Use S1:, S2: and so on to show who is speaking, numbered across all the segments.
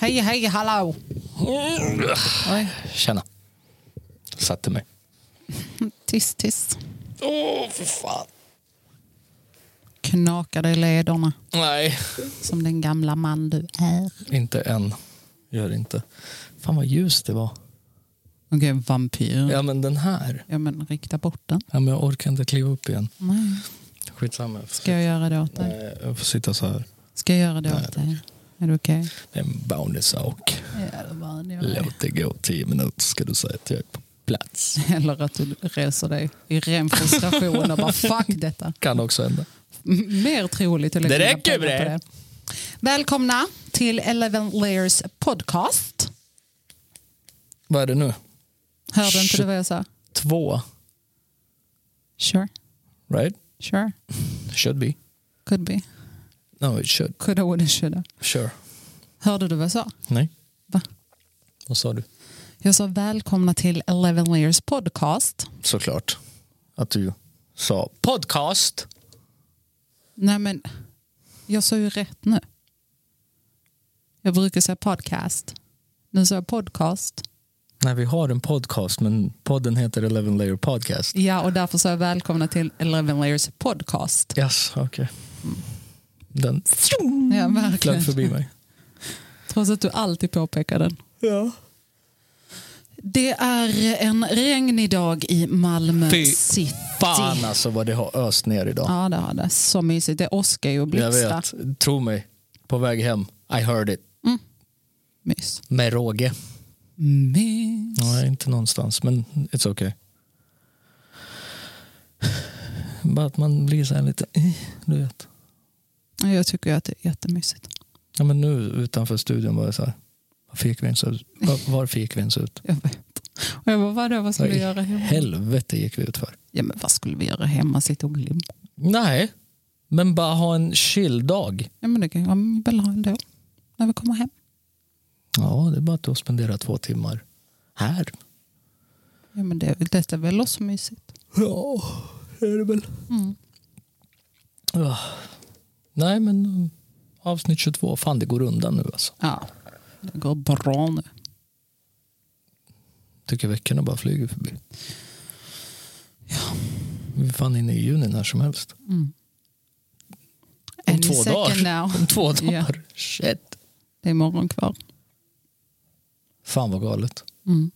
S1: Hej, hej, hallå! Oj,
S2: Tjena. Satte mig.
S1: tyst, tyst.
S2: Åh, för fan.
S1: Knakade i lederna
S2: Nej,
S1: som den gamla man du är.
S2: inte än. Gör inte. Fan vad ljus det var.
S1: Okej, vampyr. Ja.
S2: Ja, men den här.
S1: men rikta bort den.
S2: Ja, men jag orkar inte kliva upp igen.
S1: Nej.
S2: Skitsamma. Jag får,
S1: Ska jag göra det åt dig?
S2: Nej, jag får sitta så här.
S1: Ska jag göra det
S2: Nej,
S1: åt dig? Är det okej?
S2: Det är en bounty-sak.
S1: Ja, det var det.
S2: Låt det gå tio minuter ska du säga att jag är på plats.
S1: Eller att du reser dig i ren frustration och bara fuck detta.
S2: Kan också hända.
S1: M- Mer troligt att lägga
S2: Det
S1: mina
S2: räcker med
S1: pengar på
S2: det.
S1: Välkomna till Eleven Layers podcast.
S2: Vad är det nu?
S1: Hörde inte du vad jag sa?
S2: Två,
S1: Sure,
S2: right?
S1: sure,
S2: Should be.
S1: could be,
S2: No, it should.
S1: coulda, woulda, shoulda.
S2: Sure.
S1: Hörde du vad jag sa?
S2: Nej.
S1: Va?
S2: Vad sa du?
S1: Jag sa välkomna till Eleven Layers podcast.
S2: Såklart. Att du sa podcast.
S1: Nej men, jag sa ju rätt nu. Jag brukar säga podcast. Nu sa jag podcast.
S2: Nej, vi har en podcast, men podden heter Eleven Layer Podcast.
S1: Ja, och därför sa jag välkomna till Eleven Layers podcast.
S2: Yes, okej. Den
S1: Ja, verkligen.
S2: flög Mm. förbi mig.
S1: Trots att du alltid påpekar den.
S2: Ja.
S1: Det är en regnig dag i Malmö
S2: Fy
S1: city.
S2: Fan alltså vad det har öst ner idag.
S1: Ja, det har det. Så mysigt. Det åskar ju och
S2: jag
S1: blixtrar.
S2: vet, tro mig. På väg hem, I heard it.
S1: Mys.
S2: Med råge.
S1: Mys.
S2: Nej, inte någonstans, men it's okay. Bara att man blir så här lite, eh, du vet.
S1: Ja, Jag tycker ju att det är jättemysigt.
S2: Ja, men nu utanför studion var det så här, varför gick vi ens ut? Var, varför gick vi ens ut?
S1: Jag vet. Och jag bara, vadå, vad ska
S2: Vad
S1: vi
S2: i
S1: göra hemma?
S2: Helvete gick vi ut för.
S1: Ja, men vad skulle vi göra hemma? Sitta och glimma?
S2: Nej, men bara ha en chill dag.
S1: Ja, men det kan jag väl ha ändå. När vi kommer hem.
S2: Ja, det är bara att du har spenderat två timmar här.
S1: Ja, men det, detta är väl också mysigt.
S2: Ja, det är det väl.
S1: Mm.
S2: Ja. Nej, men mm, avsnitt 22. Fan, det går undan nu alltså.
S1: Ja, det går bra nu.
S2: Tycker veckorna bara flyger förbi. Ja. Vi är fan inne i juni när som helst.
S1: Mm.
S2: Om
S1: Any
S2: två
S1: second
S2: dagar.
S1: now.
S2: Om två
S1: Ja.
S2: dagar. Shit.
S1: Det är imorgon kvar.
S2: Fan vad galet.
S1: Mm.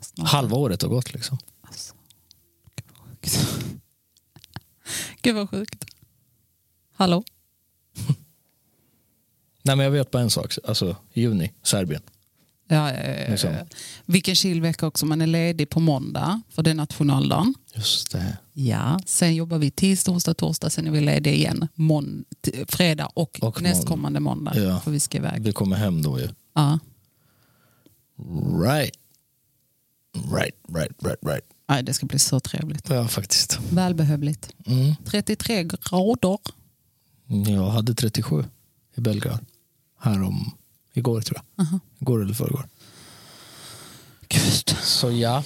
S1: Snart.
S2: Halva året har gått liksom.
S1: Alltså, gud vad sjukt. Gud vad sjukt. Hallå?
S2: Nej, men jag vet bara en sak. Alltså, juni, Serbien.
S1: Ja, ja, ja, ja,
S2: Liksom.
S1: ja. Vilken chillvecka också. Man är ledig på måndag för det är nationaldagen.
S2: Just det.
S1: Ja. Sen jobbar vi tisdag, onsdag, torsdag. Sen är vi lediga igen mån- t- fredag och,
S2: Och
S1: nästkommande måndag.
S2: Ja.
S1: För vi ska iväg.
S2: Vi kommer hem då ju.
S1: Ja.
S2: Right. Right, right, right, right.
S1: Nej, det ska bli så trevligt.
S2: Ja, faktiskt.
S1: Välbehövligt.
S2: Mm.
S1: 33 grader.
S2: Jag hade 37 i Belgrad. Härom, igår tror jag.
S1: Aha.
S2: Igår eller förrgår.
S1: Gud.
S2: Så ja.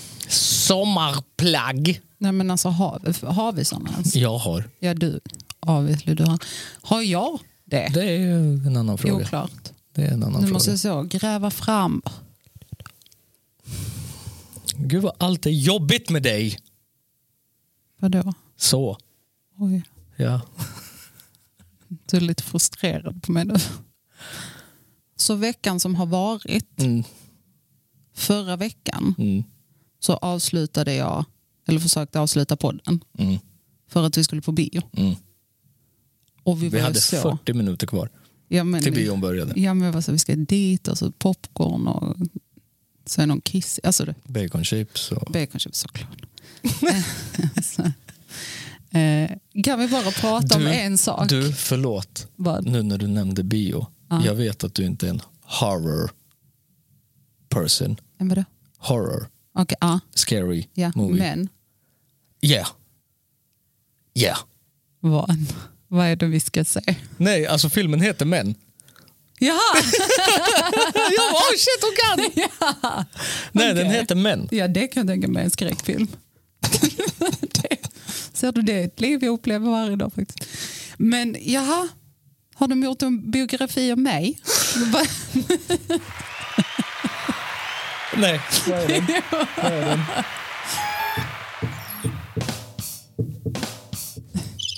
S2: Sommarplagg.
S1: Nej, men alltså, har, har vi sådana ens?
S2: Jag har.
S1: Ja, du. Obviously, du har. Har jag det?
S2: Det är en annan
S1: det
S2: fråga.
S1: är oklart.
S2: Det är en annan
S1: Nu
S2: fråga.
S1: måste jag så, gräva fram.
S2: Gud vad allt är jobbigt med dig.
S1: Vadå?
S2: Så.
S1: Oj,
S2: Ja.
S1: du är lite frustrerad på mig nu. Så veckan som har varit,
S2: Mm.
S1: förra veckan,
S2: Mm.
S1: så avslutade jag, eller försökte avsluta podden,
S2: Mm.
S1: för att vi skulle på bio.
S2: Mm.
S1: Och vi,
S2: Vi
S1: var
S2: hade
S1: ju så.
S2: 40 minuter kvar
S1: Ja, men,
S2: till bion började.
S1: Ja, men jag var så, vi ska dit och så popcorn och så är någon kiss. Alltså, det-
S2: Baconchips och...
S1: Baconchips såklart. Så, eh, kan vi bara prata om
S2: Du-
S1: en sak?
S2: Du, förlåt.
S1: Vad?
S2: Nu när du nämnde bio.
S1: Ja.
S2: Jag vet att du inte är en horror person.
S1: Men vadå?
S2: Horror.
S1: Okej, ja,
S2: Scary
S1: ja.
S2: movie.
S1: Men
S2: Yeah. Yeah.
S1: vad, vad är det vi ska se?
S2: Nej, alltså filmen heter Men.
S1: Jaha!
S2: ja, oh shit, hon kan! Nej, den
S1: Okej.
S2: heter Men.
S1: Ja, det kan jag tänka mig en skräckfilm. det, ser du, det är ett liv jag upplever varje dag faktiskt. Men jaha, har de gjort en biografi om mig?
S2: Nej, vad är den? Vad är den?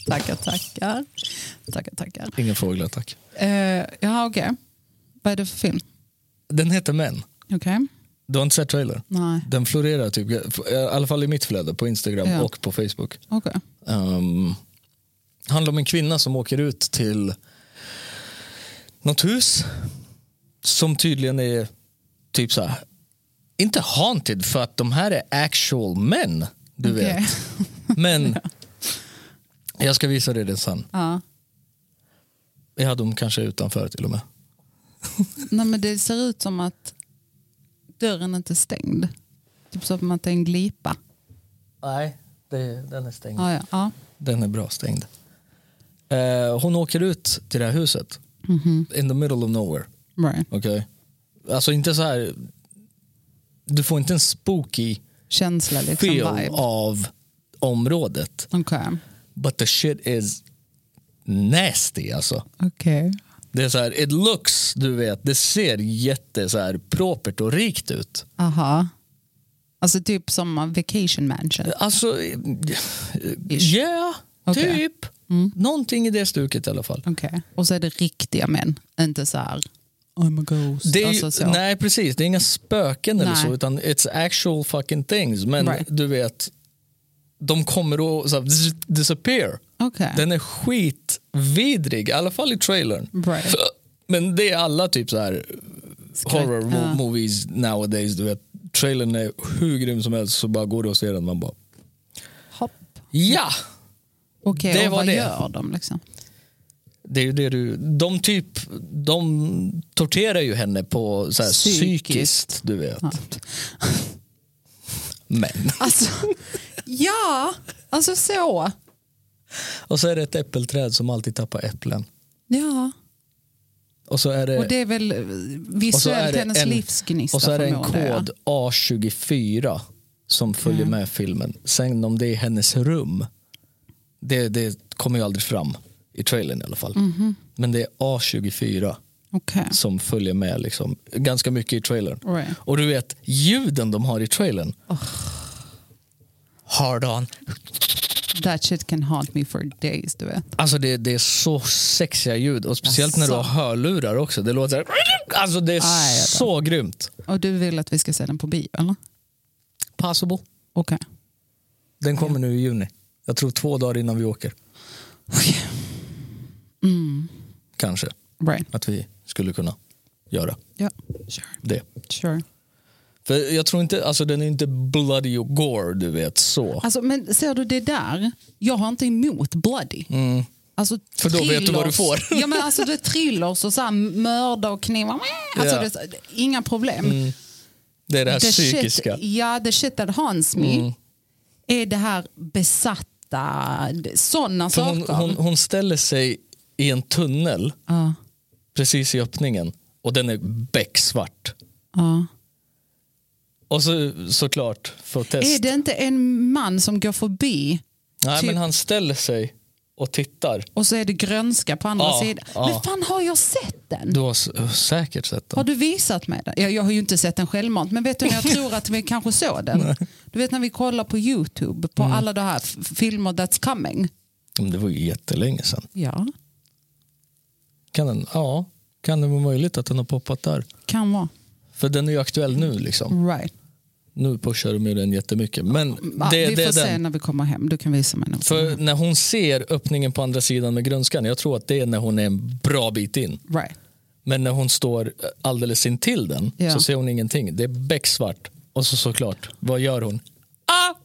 S1: tackar, tackar. Tackar, tackar.
S2: Ingen fåglar, tack.
S1: Eh, jaha, okej. Vad är det för film?
S2: Den heter Män.
S1: Okej.
S2: Du har inte sett trailer?
S1: Nej.
S2: Den florerar typ, i alla fall i mitt flöde på Instagram
S1: Ja.
S2: och på Facebook.
S1: Okej.
S2: Um, handlar om en kvinna som åker ut till något hus som tydligen är typ så här, inte haunted för att de här är actual män, du
S1: Okej.
S2: vet. Men jag ska visa dig det sen.
S1: Ja.
S2: Jag hade dem kanske utanför till och med.
S1: Nej, men det ser ut som att dörren inte är stängd. Typ som att det är en glipa.
S2: Nej, den är stängd.
S1: Ja, ja. ja.
S2: Den är bra stängd. Eh, hon åker ut till det här huset.
S1: Mhm.
S2: In the middle of nowhere.
S1: Right.
S2: Okej. Alltså inte så här. Du får inte en spooky
S1: Känsla, liksom
S2: feel
S1: vibe.
S2: av området.
S1: Okej.
S2: But the shit is nasty alltså.
S1: Okej.
S2: Det är så här, it looks, du vet, det ser jätte så här propert och rikt ut.
S1: Aha. Alltså typ som en vacation mansion.
S2: Alltså, eh, yeah,
S1: Okej. Mm.
S2: typ. Någonting i det stuket i alla fall.
S1: Okej. Och så är det riktiga män, inte så här I'm a ghost.
S2: Det är ju,
S1: alltså, så.
S2: Nej precis, det är inga spöken eller
S1: Nej.
S2: så utan it's actual fucking things. Men
S1: Right.
S2: du vet, de kommer att så här, zzz, disappear.
S1: Okej.
S2: Den är skitvidrig, i alla fall i trailern.
S1: Right.
S2: Men det är alla typ så här
S1: Skräck,
S2: horror mo-
S1: ja.
S2: movies nowadays. Du vet, trailern är hur grym som helst så bara går du och ser den. Man bara,
S1: Hopp.
S2: ja!
S1: Okej,
S2: Det
S1: och
S2: var
S1: vad
S2: det.
S1: gör de liksom?
S2: Det är ju det du, de typ, de torterar ju henne på så här psykiskt.
S1: Psykiskt.
S2: du vet.
S1: Ja.
S2: Men.
S1: Alltså, ja, alltså så.
S2: Och så är det ett äppelträd som alltid tappar äpplen.
S1: Ja,
S2: Och så är det,
S1: och det är väl eh,
S2: och så är
S1: visuellt
S2: det
S1: hennes
S2: en-
S1: livsgnista
S2: och så är det en
S1: förmodar jag. Mm.
S2: kod A24 som följer med filmen. Sen om det är hennes rum, det, det kommer ju aldrig fram i trailern i alla fall.
S1: Mhm.
S2: Men det är A24
S1: Okej.
S2: som följer med liksom, ganska mycket i trailern.
S1: Right.
S2: Och du vet, ljuden de har i trailern. Hard on.
S1: That shit can haunt me for days, du vet.
S2: Alltså det, det är så sexiga ljud och speciellt när du har
S1: Asså.
S2: hörlurar också. Det låter så här, Alltså det är
S1: Alltså. Aj, då.
S2: så grymt.
S1: Och du vill att vi ska se den på bio, eller?
S2: Possible.
S1: Okej.
S2: Den kommer nu i juni. Jag tror två dagar innan vi åker.
S1: Okej. Mm.
S2: Kanske
S1: Right.
S2: att vi skulle kunna göra
S1: Ja, sure.
S2: det.
S1: sure.
S2: För jag tror inte, alltså den är inte bloody och gore du vet så.
S1: Alltså, men ser du det där? Jag har inte emot bloody. Alltså,
S2: Mm. För då vet du vad du
S1: thrillers-
S2: får.
S1: ja, men alltså, det är thrillers och så här, mörda och knivar. Alltså,
S2: Ja.
S1: det, är så- inga problem.
S2: Det är det här
S1: The shit-
S2: psykiska. Mm.
S1: Ja, the shit that haunts me är det här besatta, sådana
S2: För
S1: saker.
S2: hon, hon, hon ställer sig i en tunnel precis i öppningen och den är becksvart.
S1: Ja.
S2: Och så såklart för att testa.
S1: Är det inte en man som går förbi
S2: Nej,
S1: typ-
S2: men han ställer sig och tittar.
S1: och så är det grönska på andra
S2: Ja,
S1: sidan?
S2: ja.
S1: Men fan, har jag sett den?
S2: Du har s- säkert sett
S1: Har
S2: den.
S1: du visat mig den? Jag, jag har ju inte sett den självmant, men vet du när jag tror att vi kanske såg den? Du vet när vi kollar på YouTube på
S2: Mm.
S1: alla de här f- filmer that's coming.
S2: Men Det var ju jättelänge sedan.
S1: Ja,
S2: Kan den, ja, kan det vara möjligt att den har poppat där?
S1: kan vara.
S2: För den är ju aktuell nu. liksom.
S1: Right.
S2: Nu pushar de ju den jättemycket. Men
S1: Ja,
S2: det,
S1: vi
S2: det
S1: får
S2: är
S1: se
S2: den.
S1: när vi kommer hem. Du kan visa mig. När vi kommer
S2: För när hon ser öppningen på andra sidan med grönskan, jag tror att det är när hon är en bra bit in.
S1: hem. Right.
S2: Men när hon står alldeles intill den
S1: Ja.
S2: så ser hon ingenting. Det är becksvart. Och så såklart, vad gör hon? Ah!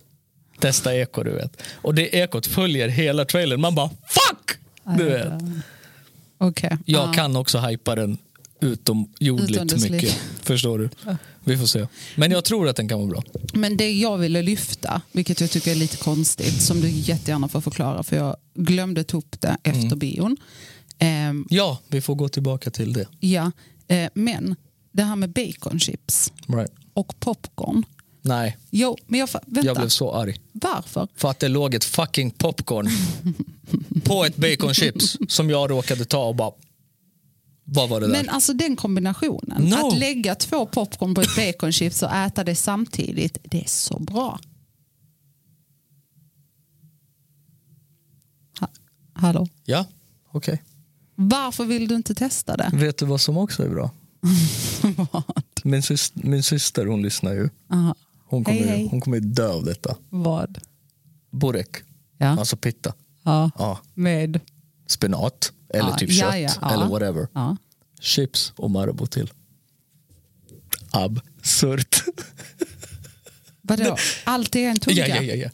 S2: Testa eko, du vet. Och det ekot följer hela trailern. Man bara fuck! Du vet.
S1: Okej.
S2: Jag
S1: Ja.
S2: kan också hypa den utomjordligt
S1: Utomjordislig.
S2: mycket. Förstår du? Vi får se. Men jag tror att den kan vara bra.
S1: Men det jag ville lyfta, vilket jag tycker är lite konstigt, som du jättegärna får förklara, för jag glömde ta upp det efter
S2: Mm.
S1: bion. Ehm,
S2: Ja, vi får gå tillbaka till det.
S1: ja, eh, men det här med baconchips
S2: Right.
S1: och popcorn.
S2: Nej,
S1: Jo, men jag, fa- vänta.
S2: jag blev så arg.
S1: Varför?
S2: För att det låg ett fucking popcorn på ett baconchips som jag råkade ta och bara Vad var det där?
S1: Men alltså den kombinationen,
S2: No.
S1: att lägga två popcorn på ett baconchips och äta det samtidigt, det är så bra. Ha- Hallå?
S2: Ja, okej.
S1: Varför vill du inte testa det?
S2: Vet du vad som också är bra?
S1: Vad?
S2: Min, sys- min syster hon lyssnar ju.
S1: Aha.
S2: Hon kommer,
S1: Hej, hej.
S2: Hon kommer ju dö av detta.
S1: Vad?
S2: Burek,
S1: Ja.
S2: alltså pitta.
S1: ja.
S2: Ja.
S1: Med?
S2: Spenat eller
S1: Ja,
S2: typ
S1: ja,
S2: kött
S1: ja, ja.
S2: eller whatever.
S1: Ja.
S2: Chips och Marabou till. Absurt.
S1: Vadå? Allt är en tugga?
S2: Ja, ja, ja, ja.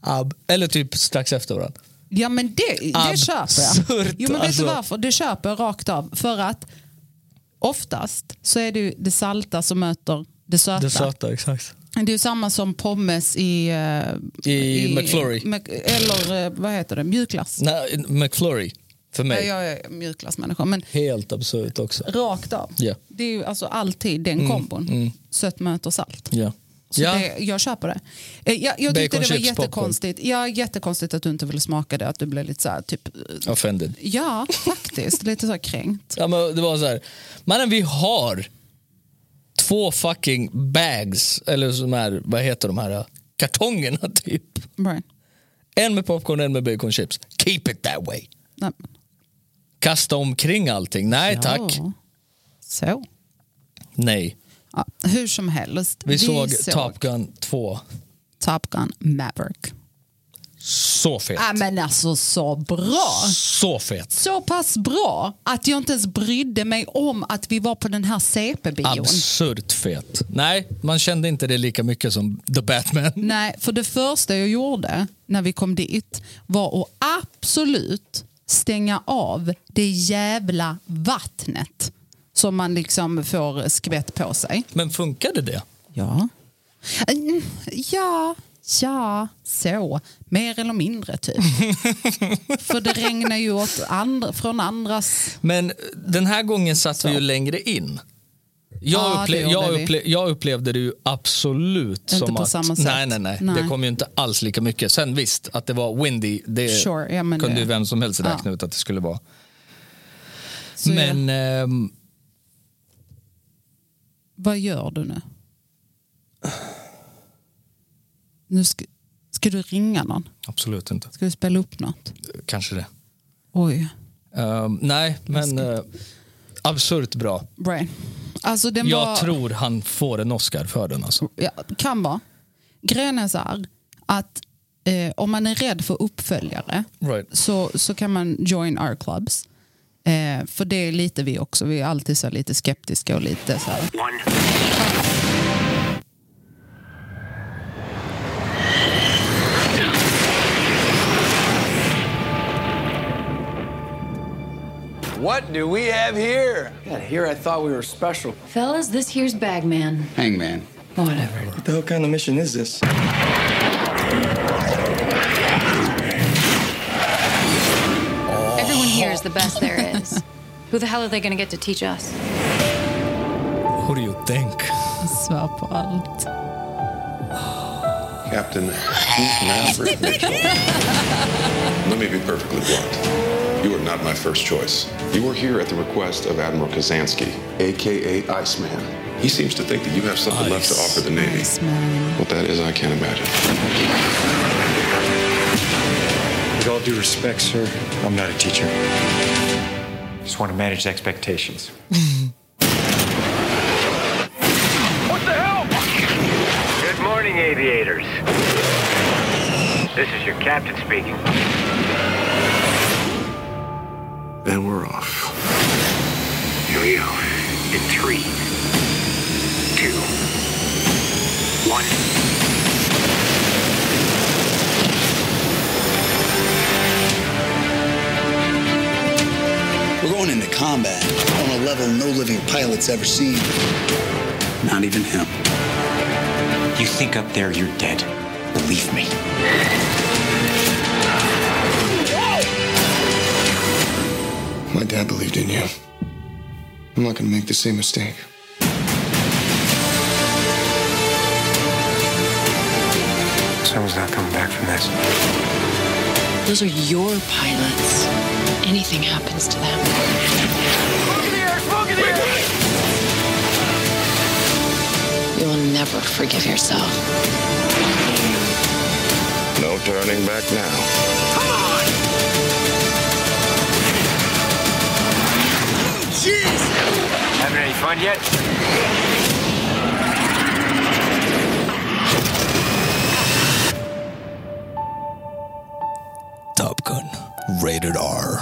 S2: Ab. Eller typ strax efter varandra.
S1: Ja men det, det
S2: Absurt,
S1: köper jag. Jo men vet du
S2: alltså.
S1: varför? Det köper jag rakt av. För att oftast så är det ju det salta som möter det söta.
S2: Det söta, exakt.
S1: Det är ju samma som pommes i... eh,
S2: I McFlurry.
S1: Mc- eller eh, vad heter det? Mjukglass.
S2: Nej, McFlurry för
S1: Ja,
S2: mig.
S1: Jag är mjukglassmänniska. Men
S2: Helt absurt också.
S1: rakt av.
S2: Ja.
S1: Det är ju alltså alltid den kombon. Sött möter salt.
S2: Ja.
S1: Så
S2: ja.
S1: det, jag köper det. Eh, Jag, jag tyckte
S2: Bacon,
S1: det var
S2: chips, popcorn.
S1: jättekonstigt. Ja, jättekonstigt att du inte ville smaka det. Att du blev lite så här, typ... eh,
S2: Offended.
S1: Ja, faktiskt. Lite så här kränkt.
S2: Ja, men det var så här. Mannen, vi har två fucking bags, eller som här, vad heter de här äh, kartongerna typ.
S1: Right.
S2: En med popcorn, en med baconchips. Keep it that way.
S1: Nej, men-
S2: Kasta omkring allting. Nej tack.
S1: Ja. Så.
S2: Nej.
S1: Ja, hur som helst.
S2: Vi, såg, Top Gun 2.
S1: Top Gun Maverick.
S2: Så fet.
S1: Ja, men alltså så bra.
S2: Så fet.
S1: Så pass bra att jag inte ens brydde mig om att vi var på den här CP-bion.
S2: Absurt fet. Nej, man kände inte det lika mycket som The Batman.
S1: Nej, för det första jag gjorde när vi kom dit var att absolut stänga av det jävla vattnet som man liksom får skvätt på sig.
S2: Men funkade det?
S1: Ja. Mm, Ja, ja, så. Mer eller mindre typ. För det regnar ju åt andra, från andras...
S2: Men den här gången satt vi ju längre in. Jag,
S1: Ja,
S2: upple-
S1: det gjorde
S2: jag,
S1: vi.
S2: upple- jag upplevde det ju absolut som
S1: på
S2: att...
S1: samma sätt.
S2: Nej, nej, nej,
S1: Nej.
S2: Det kom ju inte alls lika mycket. Sen visst, att det var windy, det
S1: Sure, ja, men
S2: kunde
S1: det-
S2: ju vem som helst räkna ut att det skulle vara.
S1: Så jag,
S2: Men ehm,
S1: vad gör du nu? Nu ska, ska du ringa någon?
S2: absolut inte.
S1: Ska du spela upp något?
S2: Kanske det.
S1: Oj.
S2: Ehm, nej, men eh, absurt bra.
S1: Right. Alltså den
S2: Jag
S1: var...
S2: tror han får en Oscar för den. Alltså.
S1: Ja, kan vara. Grejen är så här att eh, om man är rädd för uppföljare
S2: Right.
S1: så, så kan man join our clubs. Eh, för det är lite vi också. Vi är alltid så här lite skeptiska och lite så här.
S3: What do we have here? Yeah, here I thought we were special.
S4: Fellas, this here's Bagman.
S5: Hangman.
S4: Whatever.
S6: What the hell kind of mission is this?
S4: Everyone here is the best there is. Who the hell are they gonna get to teach us?
S2: What do you think?
S1: Jag svär på allt.
S7: Captain Keith Maverick Mitchell. Let me be perfectly blunt. You are not my first choice. You were here at the request of Admiral Kazansky, aka Iceman. He seems to think that you have something left to offer the Navy.
S1: Nice man.
S7: What that is, I can't imagine.
S6: With all due respect, sir, I'm not a teacher.
S8: Just want to manage expectations.
S9: What the hell? Good morning, aviators. This is your captain speaking.
S7: And we're off.
S9: Here we go. In three, two, one.
S5: We're going into combat on a level no living pilot's ever seen. Not even him.
S8: You think up there you're dead. Believe me.
S7: My dad believed in you. I'm not gonna make the same mistake.
S8: Someone's not coming back from this.
S10: Those are your pilots. Anything happens to them. never forgive yourself.
S7: No turning back now.
S9: Having any fun yet?
S2: Top Gun. Rated R.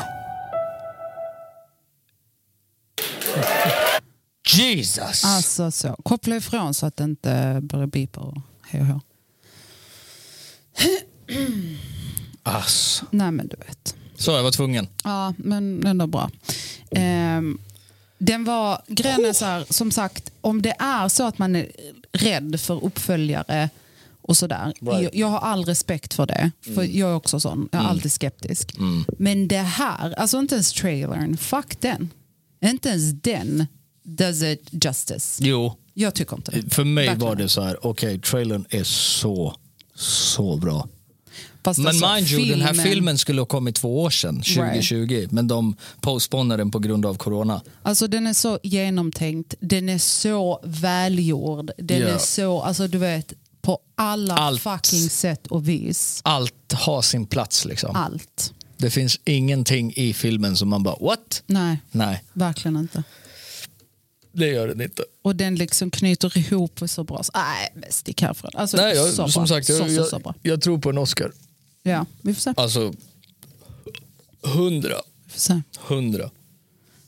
S2: Jesus!
S1: Alltså så. Koppla ifrån så att det inte blir beeper och hej och hå.
S2: Ass.
S1: Nej men du vet.
S2: Så jag var tvungen.
S1: Ja, men ändå bra. Ehm, den var, grejen är så här, som sagt, om det är så att man är rädd för uppföljare och sådär.
S2: Right.
S1: Jag, jag har all respekt för det, för jag är också sån. Jag är alltid skeptisk. Men det här, alltså inte ens trailern, fuck den. Inte ens den does it justice.
S2: Jo,
S1: Jag tycker inte det.
S2: för mig
S1: Verkligen.
S2: var det så här, okej, trailern är så, så bra.
S1: Fast
S2: Men
S1: alltså,
S2: mind you, den här filmen skulle ha kommit två år sedan, 2020, men de postponade den på grund av corona.
S1: Alltså den är så genomtänkt, den är så välgjord, den
S2: Ja.
S1: är så, alltså du vet, på alla
S2: Allt.
S1: fucking sätt och vis.
S2: Allt har sin plats liksom.
S1: Allt.
S2: Det finns ingenting i filmen som man bara, what?
S1: Nej,
S2: Nej,
S1: verkligen inte.
S2: det gör den inte.
S1: Och den liksom knyter ihop på så bra så- Nej, men stick härifrån. Alltså,
S2: Nej, jag,
S1: så bra.
S2: som sagt,
S1: så,
S2: jag,
S1: så, så
S2: jag,
S1: bra.
S2: jag tror på en Oscar.
S1: Ja, vi får se.
S2: Alltså, hundra.
S1: Vi får se.
S2: Hundra.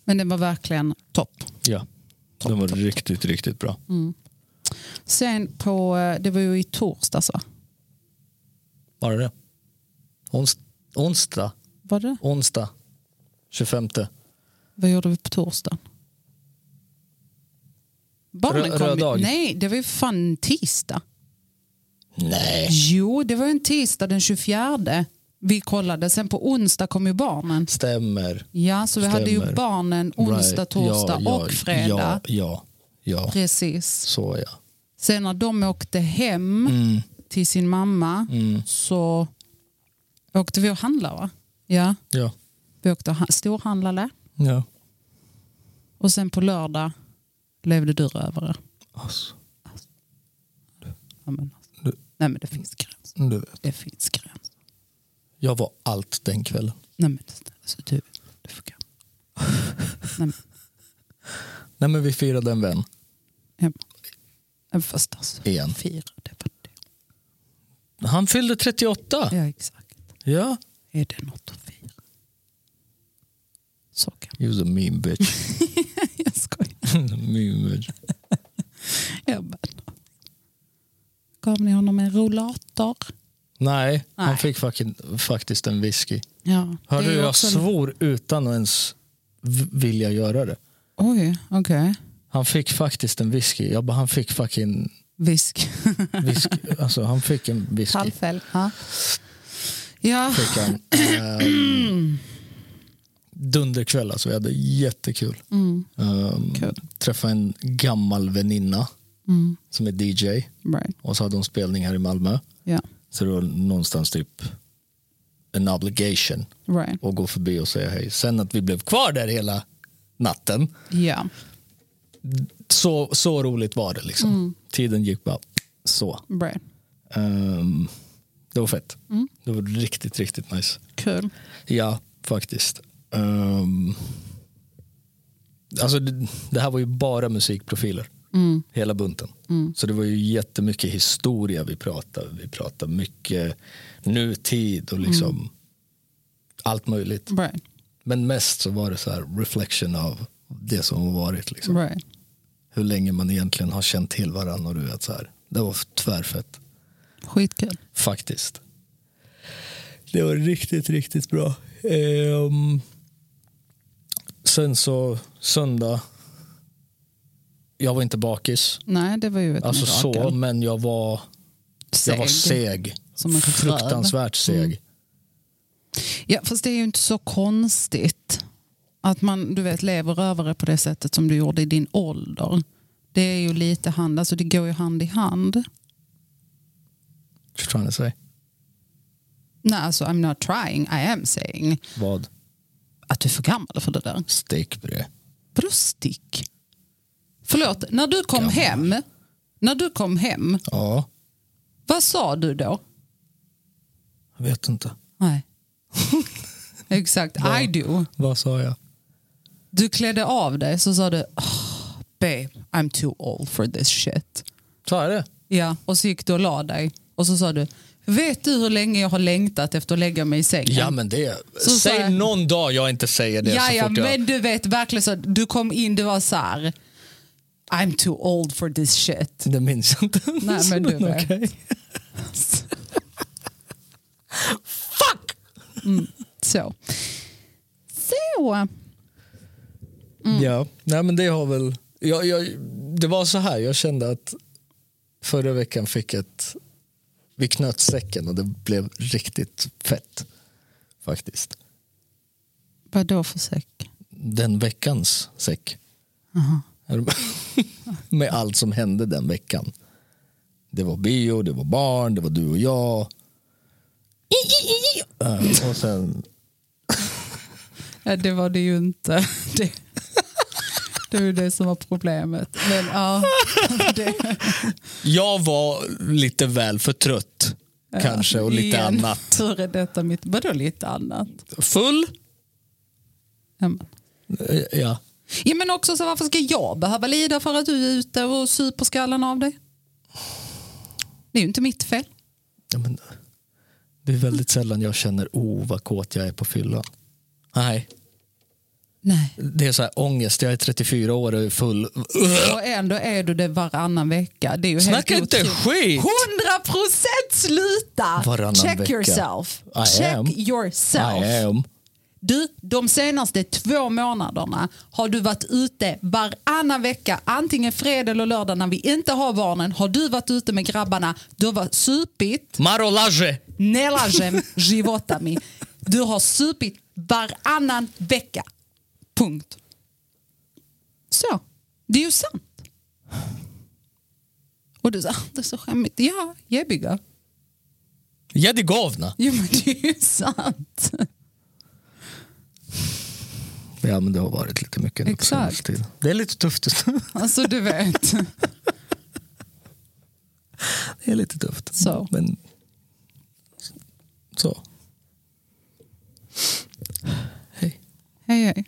S1: Men den var verkligen topp.
S2: Ja. Den var riktigt, riktigt bra.
S1: Mm. Sen på, eh, det var ju i torsdags va?
S2: Var det det? Ons, onsdag.
S1: Var det?
S2: Onsdag. 25.
S1: Vad gjorde vi på torsdagen? Barnen
S2: Rö-
S1: kom
S2: röd
S1: ju-
S2: dag.
S1: Nej, det var ju fan tisdag.
S2: Nej.
S1: Jo, det var en tisdag den 24. Vi kollade, sen på onsdag kom ju barnen.
S2: Stämmer.
S1: Ja, så vi hade ju
S2: Stämmer.
S1: barnen onsdag,
S2: Right.
S1: torsdag
S2: Ja, ja,
S1: och fredag.
S2: Ja, ja, ja.
S1: Precis.
S2: Så ja.
S1: Sen när de åkte hem
S2: Mm.
S1: till sin mamma så åkte vi och handlade va? Ja,
S2: Ja.
S1: vi åkte och han- storhandlade
S2: ja.
S1: och sen på lördag levde du rövare.
S2: Alltså,
S1: Ja, men alltså. Nej men det finns gräns.
S2: du vet.
S1: Det finns gräns.
S2: Jag var allt den kvällen.
S1: Nej men det- alltså, du, du får gå. Nej, men,
S2: Nej men vi firade en vän.
S1: ja. Men Fast alltså,
S2: Igen.
S1: fira det var det.
S2: Han fyllde 38.
S1: Ja, exakt.
S2: Ja.
S1: Är det något att fira? Så kan
S2: He was a mean bitch.
S1: jag skoja.
S2: mean bitch.
S1: Jag bara, Gav ni honom en rollator?
S2: Nej, han
S1: Nej.
S2: fick fucking, faktiskt en whisky.
S1: Ja.
S2: Hörde
S1: det är
S2: du,
S1: ju
S2: jag
S1: också-
S2: svor utan att ens v- vilja göra det.
S1: Oj, okej.
S2: Han fick faktiskt en whisky. Jag bara, han fick fucking
S1: Visk.
S2: whisky. alltså, han fick en whisky.
S1: Halvfäll. Ja. ja.
S2: Fick han. Ehm, dunderkväll alltså, vi hade jättekul. Ehm,
S1: Kul.
S2: Träffade en gammal väninna som är DJ
S1: Right.
S2: och så hade hon spelning här i Malmö.
S1: Ja.
S2: Så det var någonstans typ en obligation
S1: Right.
S2: och gå förbi och säga hej. Sen att vi blev kvar där hela natten,
S1: Ja.
S2: så, så roligt var det. Liksom. Tiden gick bara så.
S1: Right.
S2: Ehm, det var fett. Det var riktigt, riktigt nice.
S1: Kul.
S2: Ja, faktiskt. Ehm, alltså det, det här var ju bara musikprofiler. Hela bunten. Så det var ju jättemycket historia vi pratade. Vi pratade mycket nutid och liksom allt möjligt.
S1: Right.
S2: Men mest så var det så här reflection av det som har varit. Liksom.
S1: Right.
S2: Hur länge man egentligen har känt till varandra. Och du vet, så här. Det var tvärfett
S1: Skitkul.
S2: faktiskt. Det var riktigt, riktigt bra. Ehm, sen så söndag. Jag var inte bakis.
S1: Nej, det var ju ett
S2: Alltså så,
S1: mirakel.
S2: men jag var, jag var seg.
S1: Som en Mm. förklädd.
S2: Fruktansvärt seg.
S1: Ja, fast det är ju inte så konstigt att man du vet, lever rövare på det sättet som du gjorde i din ålder. Det är ju lite hand, alltså det går ju hand i hand.
S2: What you trying to say?
S1: Nej, alltså I'm not trying, I am saying
S2: Vad?
S1: att du är för gammal för det där.
S2: Stekbröd.
S1: Vadå stick? Förlåt, när du kom hem När du kom hem,
S2: Ja,
S1: vad sa du då?
S2: jag vet inte.
S1: Nej. Exakt, I do.
S2: Vad sa jag?
S1: Du klädde av dig så sa du oh, babe, I'm too old for this shit.
S2: Så är det.
S1: Ja, och så gick du och la dig och så sa du Vet du hur länge jag har längtat efter att lägga mig i sängen?
S2: Ja, men det...
S1: Mm. Så sa
S2: Säg
S1: jag-
S2: någon dag jag inte säger det
S1: ja,
S2: så
S1: ja
S2: fort jag...
S1: men du vet verkligen så. Du kom in, du var så här. I'm too old for this shit.
S2: Det minns jag inte.
S1: Nej, men du vet.
S2: Okej. Fuck!
S1: Så. Så. Mm.
S2: Ja, nej men det har väl... Jag, jag, det var så här, jag kände att förra veckan fick ett... Vi knöt säcken och det blev riktigt fett. Faktiskt.
S1: Vadå för säck?
S2: Den veckans säck. Är du- Med allt som hände den veckan. Det var bio, det var barn, det var du och jag. Eh, Och sen
S1: Ja, det var det ju inte. Det, det var ju det som var problemet. Men ja, det,
S2: Jag var lite väl för trött kanske och lite
S1: igen,
S2: annat.
S1: Före detta mitt, vadå lite annat?
S2: Full?
S1: Ja, men-
S2: Ja.
S1: Ja, men också så varför ska jag behöva lida för att du är ute och super skallen av dig? Det är ju inte mitt fel.
S2: ja men, det är väldigt sällan jag känner oh vad kåt jag är på fyllan. Nej,
S1: Nej.
S2: det är så här ångest. Jag är 34 år och är full.
S1: Och ändå är du det varannan vecka. Det är ju
S2: Snacka
S1: helt
S2: inte
S1: otroligt.
S2: skit!
S1: 100 procent sluta!
S2: Varannan
S1: Check
S2: vecka.
S1: yourself.
S2: I
S1: Check
S2: am.
S1: yourself.
S2: I am.
S1: Du, de senaste två månaderna har du varit ute varannan vecka. Antingen fredag eller lördag när vi inte har barnen har du varit ute med grabbarna. Du har varit supit,
S2: Marolage!
S1: nelajem, životami. Du har supit varannan vecka. Punkt. Så, det är ju sant. Och du sa, "Ah, det är så skämmigt. Ja, jebbiga.
S2: Jedi govna.
S1: Jo men det är ju sant.
S2: Ja men det har varit lite mycket. nu på
S1: Exakt.
S2: senaste tiden. Det är lite tufft just nu.
S1: Alltså du vet.
S2: Det är lite tufft.
S1: Så.
S2: Men, så. Hej.
S1: Hej hej.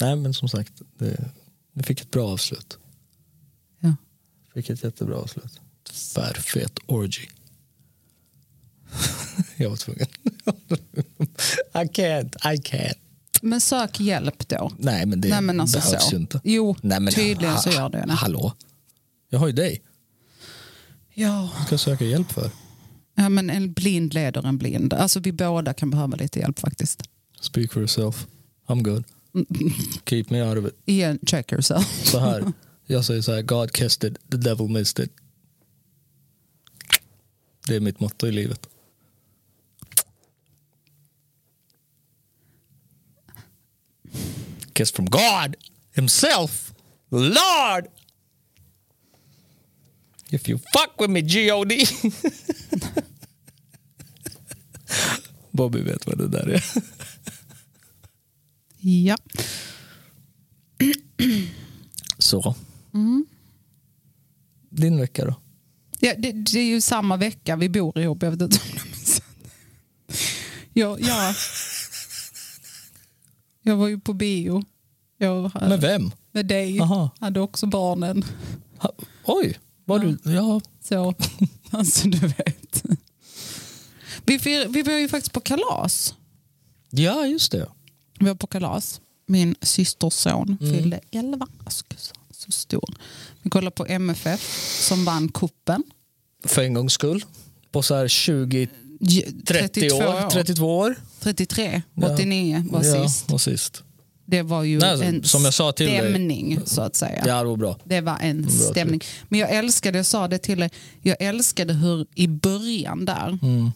S2: Nej, men som sagt, det, det fick ett bra avslut.
S1: Ja.
S2: Fick ett jättebra avslut. Tvärfet orgy. jag var tvungen. I can't, I can't.
S1: Men sök hjälp då.
S2: Nej, men det
S1: Nej, men alltså
S2: behövs
S1: så.
S2: ju inte.
S1: Jo,
S2: Nej, men,
S1: tydligen så gör det det.
S2: Hallå? Jag har ju dig.
S1: Ja.
S2: Vad ska jag söka hjälp för?
S1: ja, men en blind leder en blind. Alltså vi båda kan behöva lite hjälp faktiskt.
S2: Speak for yourself. I'm good. Keep me out of it.
S1: Igen, check yourself.
S2: Så här. Jag säger så här, God kissed it, the devil missed it. Det är mitt motto i livet. Kiss from God himself, the Lord. If you fuck with me, G.O.D. Bobby vet vad det där är.
S1: Ja.
S2: Så. Mm. Din vecka då?
S1: Ja, det, det är ju samma vecka vi bor ihop. Jag vet inte om du minns det. jag, jag, jag var ju på bio. Jag,
S2: Med vem?
S1: med dig.
S2: Aha.
S1: Hade också barnen.
S2: Ha, oj, var du... Ja.
S1: Så, alltså du vet. Vi, fir, vi var ju faktiskt på kalas.
S2: ja, just det.
S1: Vi var på kalas. Min systers son
S2: Mm.
S1: fyllde 11. Jag skulle säga, Så stor. Vi kollade på MFF som vann kuppen.
S2: För en gångs skull. På så här 20,
S1: J-
S2: 30 år, 32 år.
S1: 33,
S2: Ja.
S1: 89 var
S2: ja,
S1: sist.
S2: Var sist.
S1: Det var ju
S2: Nej, alltså,
S1: en
S2: som jag sa till dig.
S1: stämning så att säga.
S2: Ja, det var bra.
S1: Det var en
S2: tryck.
S1: stämning. Men jag älskade, jag sa det till dig, jag älskade hur i början där,
S2: Mm.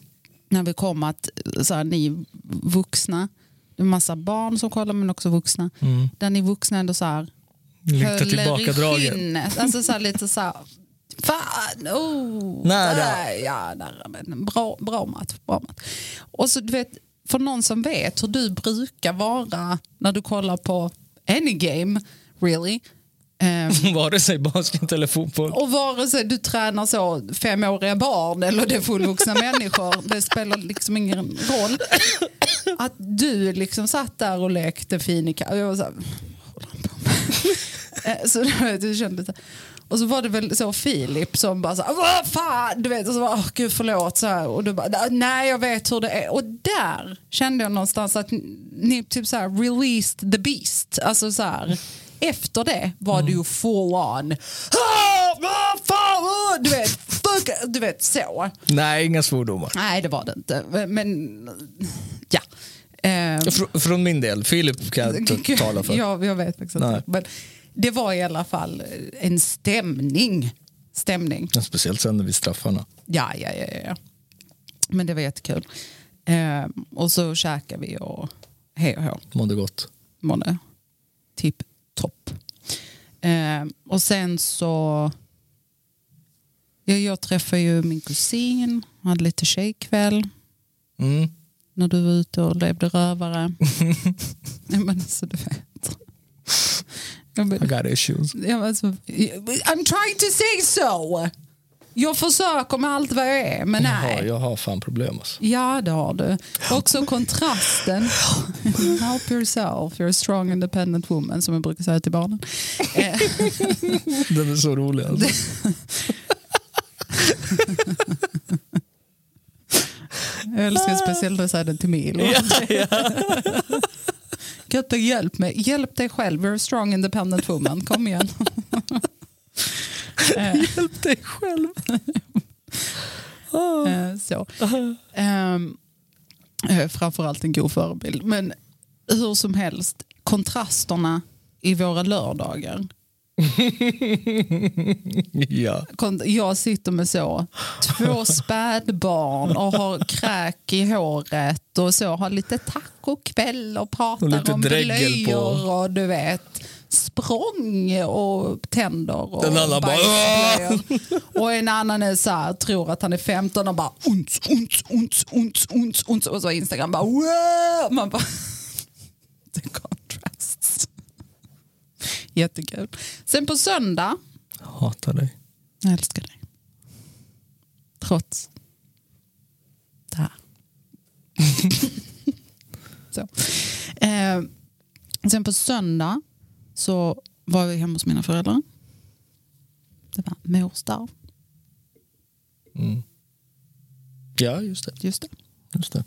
S1: när vi kom att så här, ni vuxna, det är en massa barn som kollar men också vuxna,
S2: Mm.
S1: där ni vuxna ändå så här, höll
S2: Lite
S1: er i
S2: tillbakadragen.
S1: skinnet. Alltså så här, lite så här, fan, oh,
S2: Nära.
S1: där, ja, nära, men bra, bra match, bra match. Och så du vet, för någon som vet hur du brukar vara när du kollar på any game, really, Ehm,
S2: Vare sig basket eller fotboll.
S1: och vare sig du tränar så femåriga barn eller det är fullvuxna människor, det spelar liksom ingen roll. Att du liksom satt där och lekte fin i ka- och jag var så här, "Vad håller han på med?" Eh, så du vet, du kände så här. Och så var det väl så Filip som bara så här, vad fan, du vet, och så bara, åh gud förlåt så här. Och du bara, nej jag vet hur det är. Och där kände jag någonstans att ni typ så här released the beast. Alltså så här, efter det var du ju full on. "Ah, vad fan, ah", Du vet, fuck, du vet så.
S2: Nej, inga svordomar.
S1: Nej det var det inte. Men ja. Eh,
S2: Fr- från min del. Filip kan jag inte tala för.
S1: Ja, jag vet faktiskt
S2: Nej.
S1: inte. Men det var i alla fall en stämning. Stämning.
S2: Speciellt sen när vi straffarna.
S1: Ja, ja, ja. ja. Men det var jättekul. Ehm, och så käkade vi och hej och hå.
S2: Mådde gott.
S1: Mådde tipp Typ topp. Ehm, och sen så... Ja, jag träffade ju min kusin, hade lite tjejkväll
S2: Mm.
S1: när du var ute och levde rövare. Nej, men alltså, du vet. Ja, men-
S2: I got issues.
S1: Ja, men alltså, I'm trying to say so. Jag försöker med allt vad jag är, men
S2: Jaha,
S1: nej.
S2: jag har fan problem alltså.
S1: Ja, det har du. Också kontrasten. Help yourself, you're a strong independent woman, som jag brukar säga till barnen. Eh,
S2: Den är så rolig alltså.
S1: jag
S2: Ah.
S1: älskar speciellt att säga den till Milo. Götta, hjälp mig. Hjälp dig själv, you're a strong independent woman. Kom igen.
S2: Hjälp dig själv. Ah.
S1: Eh, så. Ehm, eh, framförallt en god förebild. Men hur som helst, kontrasterna i våra lördagar.
S2: Ja.
S1: Kon- Jag sitter med så, två spädbarn och har kräk i håret och så har lite tacokväll och pratar
S2: Och lite
S1: om
S2: dregel på.
S1: blöjor och du vet språng och tänder och
S2: Den andra bara,
S1: bajsblöjor. Och en annan är så här, tror att han är 15 och bara uns, uns, uns, uns, uns, uns. Och så Instagram bara wow. Man bara... The contrasts. Jättekul. Sen på söndag.
S2: Hatar dig.
S1: Jag älskar dig. Trots det här. så. Eh, sen på söndag så var jag hemma hos mina föräldrar. Det var mors dag.
S2: Ja, just det.
S1: Just det.
S2: Just det.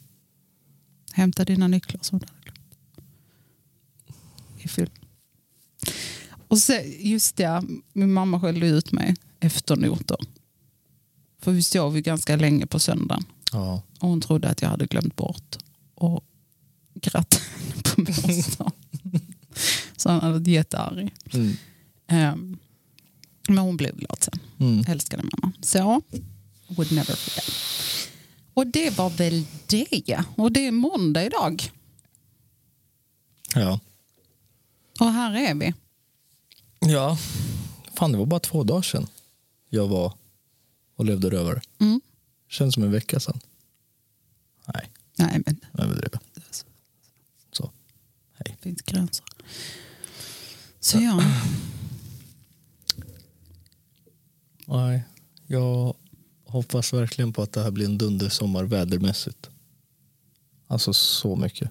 S1: Hämta dina nycklar som du hade glömt. I film. Och så, just det, min mamma skällde ut mig efter noter. För vi sov ju ganska länge på söndagen.
S2: Ja.
S1: Och hon trodde att jag hade glömt bort och gratta henne på morsdagen. Så han hade varit jättearg.
S2: Mm.
S1: Ehm, men hon blev glad sen.
S2: Mm.
S1: Älskade mamma. Så, would never forget. Och det var väl det. Och det är måndag idag.
S2: Ja.
S1: Och här är vi.
S2: Ja. Fan, det var bara två dagar sedan jag var och levde rövare.
S1: Mm.
S2: Känns som en vecka sedan. Nej,
S1: Nej, men
S2: jag överdrev. Så.
S1: det finns gränser. Så ja,
S2: Nej, jag hoppas verkligen på att det här blir en dundersommar vädermässigt. Alltså så mycket.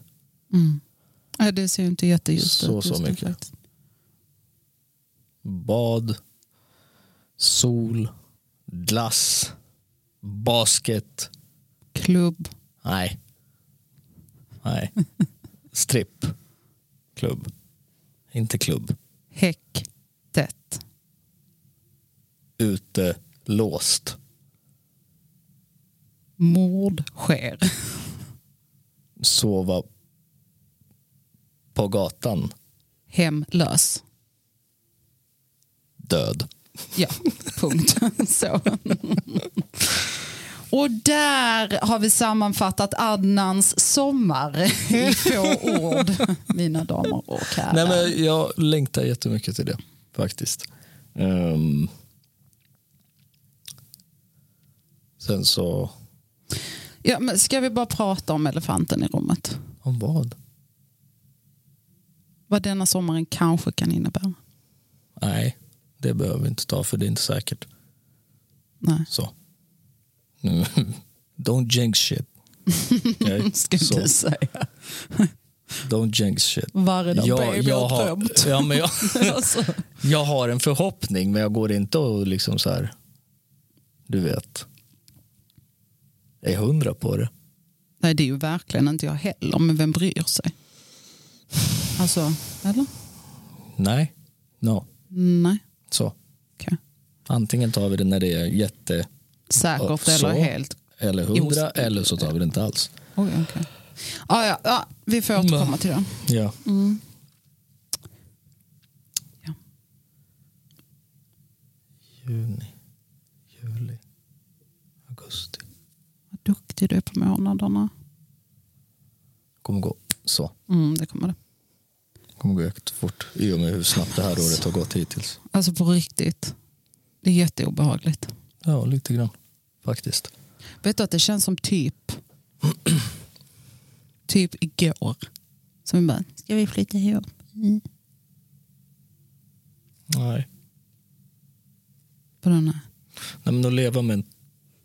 S1: Nej, äh, det ser ju inte jätteljust
S2: Så,
S1: ut.
S2: så
S1: just nu
S2: mycket.
S1: faktiskt.
S2: Bad, sol, glass, basket.
S1: Klubb.
S2: Nej. Nej. Stripp. Klubb. Inte klubb.
S1: häktet.
S2: Ute. Låst.
S1: Mord sker.
S2: Sova på gatan.
S1: Hemlös.
S2: Död.
S1: Ja, punkt. Så. Och där har vi sammanfattat Adnans sommar i få ord, mina damer och herrar.
S2: Nej, men jag längtar jättemycket till det faktiskt. Ehm. sen så,
S1: Ja, men ska vi bara prata om elefanten i rummet?
S2: om vad?
S1: Vad denna sommaren kanske kan innebära.
S2: Nej, det behöver vi inte ta för det är inte säkert.
S1: Nej,
S2: Så. Nu- Don't jinx shit. Okay?
S1: ska
S2: Så,
S1: inte säga.
S2: don't jinx shit.
S1: Varje dag
S2: Jag,
S1: baby
S2: jag,
S1: och
S2: har,
S1: tömt.
S2: ja, men jag,
S1: Alltså,
S2: jag har en förhoppning men jag går inte och liksom så här, du vet, är hundra på det.
S1: nej, det är ju verkligen inte jag heller, men vem bryr sig? Alltså, eller?
S2: Nej, no.
S1: Nej.
S2: Så.
S1: okej.
S2: Antingen tar vi det när det är jätte...
S1: Säkert
S2: Så.
S1: eller helt?
S2: Eller hundra, eller så tar vi det inte alls.
S1: Oj, okej. ja, ja, ja, vi får återkomma till det.
S2: Ja.
S1: Mm. Ja.
S2: Juni, juli, augusti.
S1: Vad duktig du är på månaderna.
S2: Kommer gå så.
S1: Mm, det kommer det.
S2: Kommer gå jäkligt fort i och med hur snabbt det här året har gått hittills.
S1: Alltså på riktigt. Det är jätteobehagligt.
S2: Ja, lite grann faktiskt.
S1: Vet du att det känns som typ typ igår. Som vi bara, ska vi flytta ihop?
S2: Nej.
S1: På den här.
S2: Nej men att leva med en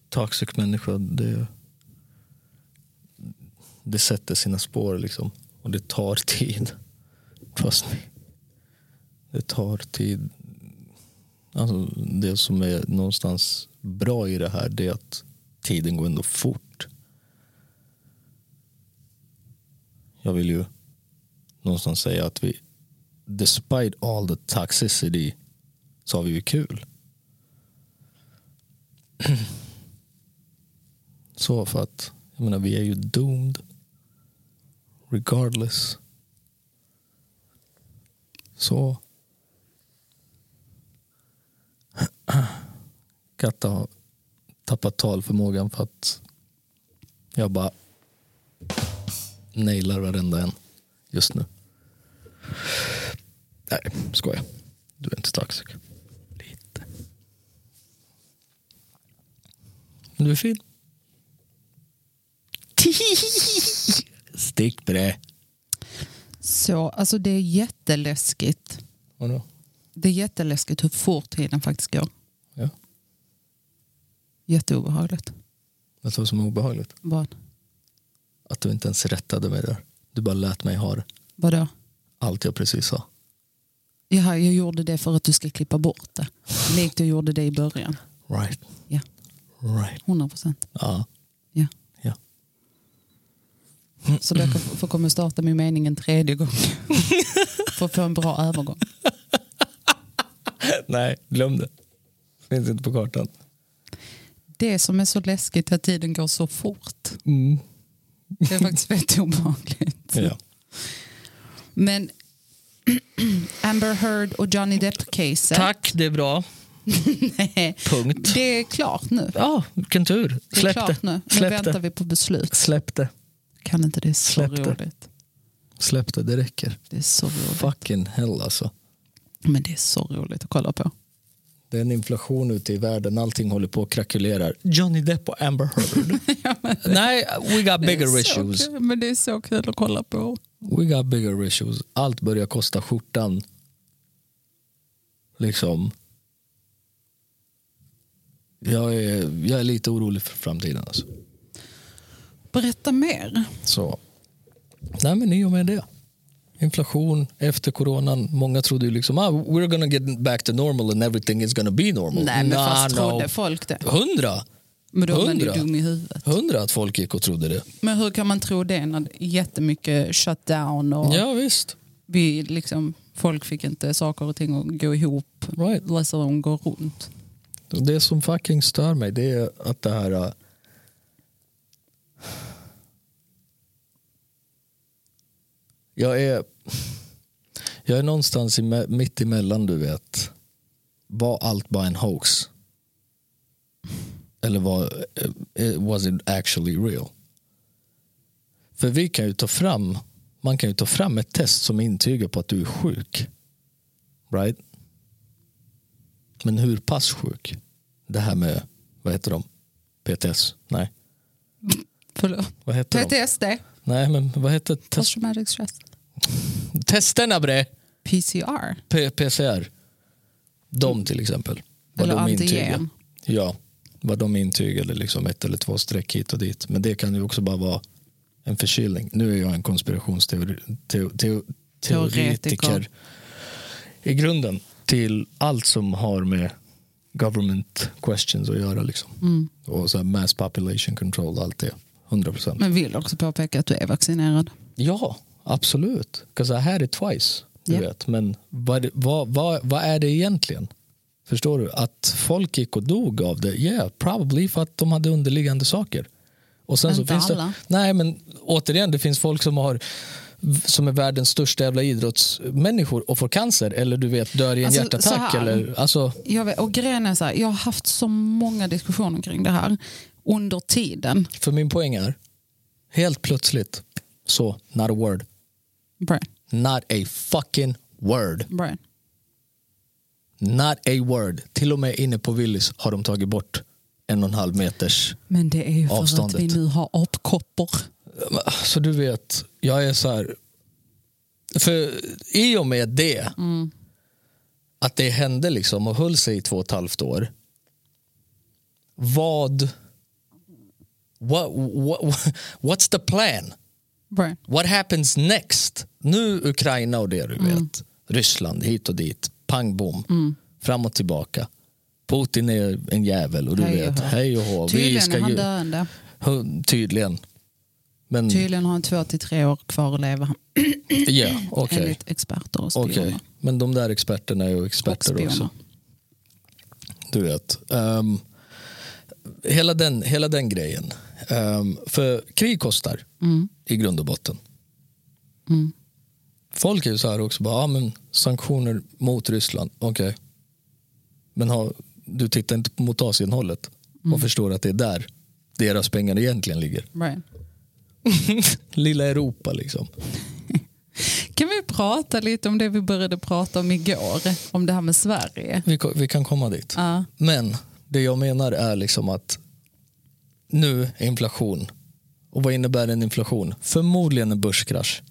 S2: toxic människa, det, det sätter sina spår liksom. Och det tar tid. Trust me. Det tar tid. Alltså, det som är någonstans bra i det här det är att tiden går ändå fort. Jag vill ju någonstans säga att vi despite all the toxicity så har vi ju kul. Så för att, jag menar vi är ju doomed. Regardless. Så. Katta har tappat talförmågan för att jag bara nailar varenda en just nu. Nej, skojar. Du är inte toxic. Lite. Men du är fin. Stick på det.
S1: Så, alltså det är jätteläskigt.
S2: Vadå?
S1: Det är jätteläskigt hur fort tiden faktiskt går.
S2: Ja.
S1: Jätteobehagligt.
S2: Vet du vad som är obehagligt?
S1: Vad?
S2: Att du inte ens rättade mig där. Du bara lät mig ha det.
S1: Vadå?
S2: Allt jag precis sa.
S1: Jaha, jag gjorde det för att du ska klippa bort det. Likt du gjorde det i början.
S2: Right.
S1: Ja,
S2: Right.
S1: 100 procent.
S2: Ja.
S1: Ja.
S2: Ja.
S1: Så därför får- kommer jag starta min mening en tredje gång. för att få en bra övergång.
S2: Nej, glöm det. Finns inte på kartan.
S1: Det som är så läskigt är att tiden går så fort. Det är faktiskt väldigt obehagligt.
S2: Ja.
S1: Men Amber Heard och Johnny Depp-caset.
S2: Tack, det är bra. Punkt.
S1: Det är klart nu.
S2: Ja, vilken tur.
S1: Det är klart nu. Nu väntar vi på beslut.
S2: Släpp det.
S1: Kan inte det är så
S2: Släpp det.
S1: roligt?
S2: Släpp det, det räcker.
S1: Det är så roligt.
S2: Fucking hell alltså.
S1: Men det är så roligt att kolla på.
S2: Det är en inflation ute i världen. Allting håller på att krackelera. Johnny Depp och Amber Heard. Nej, we got bigger
S1: det är så
S2: issues.
S1: kul, Men det är så kul att kolla på.
S2: We got bigger issues. Allt börjar kosta skjortan. Liksom. Jag är, jag är lite orolig för framtiden. Alltså.
S1: Berätta mer.
S2: Så. Nej, men i och med det. Inflation efter coronan. Många trodde ju liksom ah, we're gonna get back to normal and everything is gonna be normal.
S1: Nej, men
S2: Nah,
S1: fast trodde
S2: no.
S1: folk det?
S2: Hundra.
S1: Men då är man ju
S2: Hundra.
S1: dum i huvudet.
S2: Hundra att folk gick och trodde det.
S1: Men hur kan man tro det när det är jättemycket shutdown och
S2: Ja, visst.
S1: vi liksom, folk fick inte saker och ting att gå ihop.
S2: Right.
S1: Läsa om går runt.
S2: Det som fucking stör mig det är att det här... äh, Jag är, jag är någonstans i, me- mitt emellan, du vet. Var allt bara en hoax? Eller var, eh, was it actually real? För vi kan ju ta fram, man kan ju ta fram ett test som intygar på att du är sjuk. Right? Men hur pass sjuk? Det här med, vad heter de? PTS? Nej.
S1: Förlåt.
S2: Vad heter de?
S1: PTSD,
S2: Nej, men vad heter test-
S1: posttraumatic stress.
S2: testerna bre?
S1: PCR.
S2: P- PCR. De till exempel. Vad
S1: Eller
S2: de intygade.
S1: anti-gen.
S2: Ja, vad de intygade, liksom ett eller två streck hit och dit. Men det kan ju också bara vara en förkylning. Nu är jag en konspirationsteoretiker
S1: Teoretiker.
S2: i grunden till allt som har med government questions att göra. Liksom.
S1: Mm.
S2: Och så här mass population control, allt det. 100 procent.
S1: Men vill också påpeka att du är vaccinerad.
S2: Ja, absolut. Because I had it twice. Du
S1: Ja.
S2: vet. Men vad, vad, vad, vad är det egentligen? Förstår du? Att folk gick och dog av det? Yeah, probably för att de hade underliggande saker. Och sen
S1: Men
S2: så
S1: inte
S2: finns det,
S1: alla.
S2: nej, men återigen, det finns folk som har som är världens största jävla idrottsmänniskor och får cancer eller du vet dör i en
S1: Alltså,
S2: hjärtattack.
S1: så här.
S2: Eller, alltså,
S1: Jag, vet, och grejen är så här, jag har haft så många diskussioner kring det här under tiden.
S2: för min poäng är, helt plötsligt, så, not a word.
S1: Brian,
S2: Not a fucking word.
S1: Brian.
S2: Not a word. Till och med inne på Willys har de tagit bort en och en halv meters.
S1: Men det är ju för att vi
S2: Avståndet.
S1: nu har apkoppor.
S2: Ah, Så du vet, jag är så här. För i och med det, att det hände liksom och höll sig i två och ett halvt år. Vad, what, what, what's the plan?
S1: Brian.
S2: What happens next? Nu Ukraina och det du
S1: Mm.
S2: vet. Ryssland hit och dit. Pang bom. Fram och tillbaka. Putin är en jävel och du
S1: Hej och
S2: vet.
S1: hå.
S2: Hej och hå. Vi
S1: Tydligen
S2: ska
S1: är han
S2: ju...
S1: döende.
S2: Hu- Tydligen. Men
S1: Tydligen har han två till tre år kvar att leva
S2: ja, okej.
S1: enligt experter och spioner.
S2: Okej. Men de där experterna är ju experter
S1: Och spioner.
S2: också. Du vet. Ehm, hela, den, hela den grejen. Ehm, för krig kostar i grund och botten. Folk är ju så här också, bara, ah, men sanktioner mot Ryssland, okej. Men har, du tittar inte mot Asienhållet och förstår att det är där deras pengar egentligen ligger.
S1: Brian.
S2: Lilla Europa liksom.
S1: Kan vi prata lite om det vi började prata om igår? Om det här med Sverige.
S2: Vi, ko- vi kan komma dit.
S1: Ja.
S2: Men det jag menar är liksom att nu inflation. Och vad innebär en inflation? Förmodligen en börskrasch.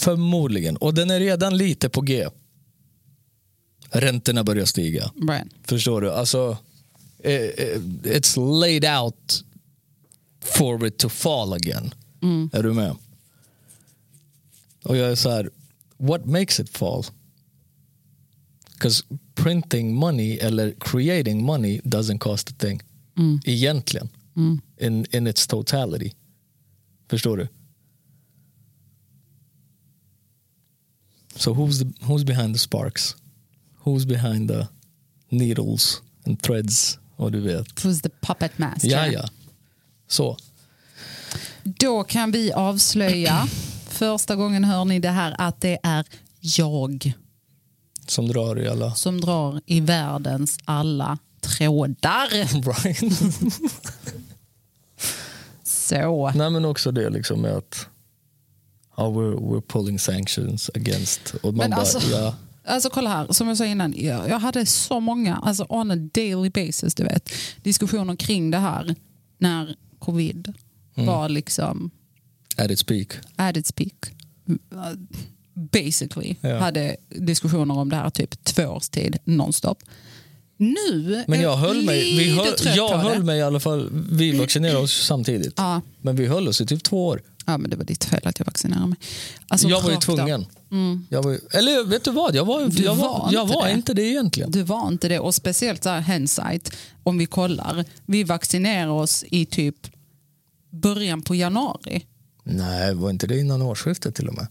S2: Förmodligen. Och den är redan lite på G. Räntorna börjar stiga.
S1: Brian.
S2: Förstår du? Alltså, eh, eh, it's laid out for it to fall again. Är du med? Och jag är så här, what makes it fall? Because printing money eller creating money doesn't cost a thing. Egentligen. In, in its totality. Förstår du? So who's, the, who's behind the sparks? Who's behind the needles and threads? Och du vet.
S1: Who's the puppet master?
S2: Ja, ja. Så.
S1: Då kan vi avslöja, första gången hör ni det här, att det är jag
S2: Som drar i alla...
S1: som drar i världens alla trådar.
S2: Brian.
S1: Så.
S2: Nej, men också det liksom med att... Ja, we're, we're pulling sanctions against... Och man
S1: Men
S2: bara,
S1: alltså-
S2: ja.
S1: Alltså kolla här, som jag sa innan, jag, jag hade så många, alltså on a daily basis, du vet, diskussioner kring det här när covid
S2: Mm.
S1: var liksom
S2: At its peak.
S1: at its peak. Basically.
S2: Ja.
S1: Hade diskussioner om det här typ två års tid nonstop. Nu
S2: Men
S1: är
S2: jag höll mig, vi
S1: lite
S2: höll,
S1: trött
S2: jag
S1: på
S2: höll
S1: det. Mm.
S2: mig i alla fall, vi vaccinerade oss samtidigt.
S1: Ja.
S2: Men vi höll oss i typ två år.
S1: Ja, men det var ditt fel att jag vaccinerade mig. Alltså,
S2: jag var ju
S1: rakt av.
S2: tvungen. Jag var, ju- eller vet du vad, jag var,
S1: Mm. Du
S2: jag var,
S1: var
S2: jag
S1: inte
S2: var
S1: det.
S2: inte det egentligen.
S1: Du var inte det. Och speciellt så här hindsight, om vi kollar. Vi vaccinerade oss i typ början på januari.
S2: Nej, var inte det innan årsskiftet till och med?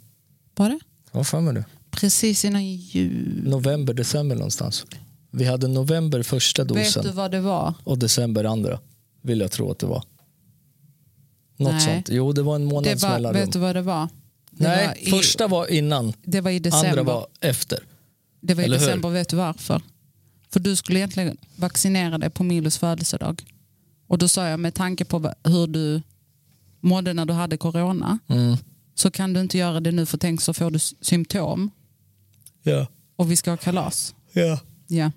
S1: Var det?
S2: Vad fan är det?
S1: Precis innan jul.
S2: November, december någonstans. Vi hade november första
S1: Vet du
S2: dosen
S1: vad det var?
S2: och december andra, vill jag tro att det var. Något
S1: Nej.
S2: sånt. Jo, det var en
S1: Det
S2: månads
S1: var
S2: mellanrum.
S1: vet du vad det var? Det
S2: Nej,
S1: var i,
S2: första var innan,
S1: det var i
S2: andra
S1: december.
S2: var efter.
S1: Det var i
S2: Eller hur?
S1: december, vet du varför? För du skulle egentligen vaccinera dig på Milos födelsedag. Och då sa jag med tanke på va- hur du mådde när du hade corona
S2: Mm.
S1: så kan du inte göra det nu för tänk så får du s- symptom
S2: Ja,
S1: och vi ska ha kalas.
S2: ja.
S1: Ja.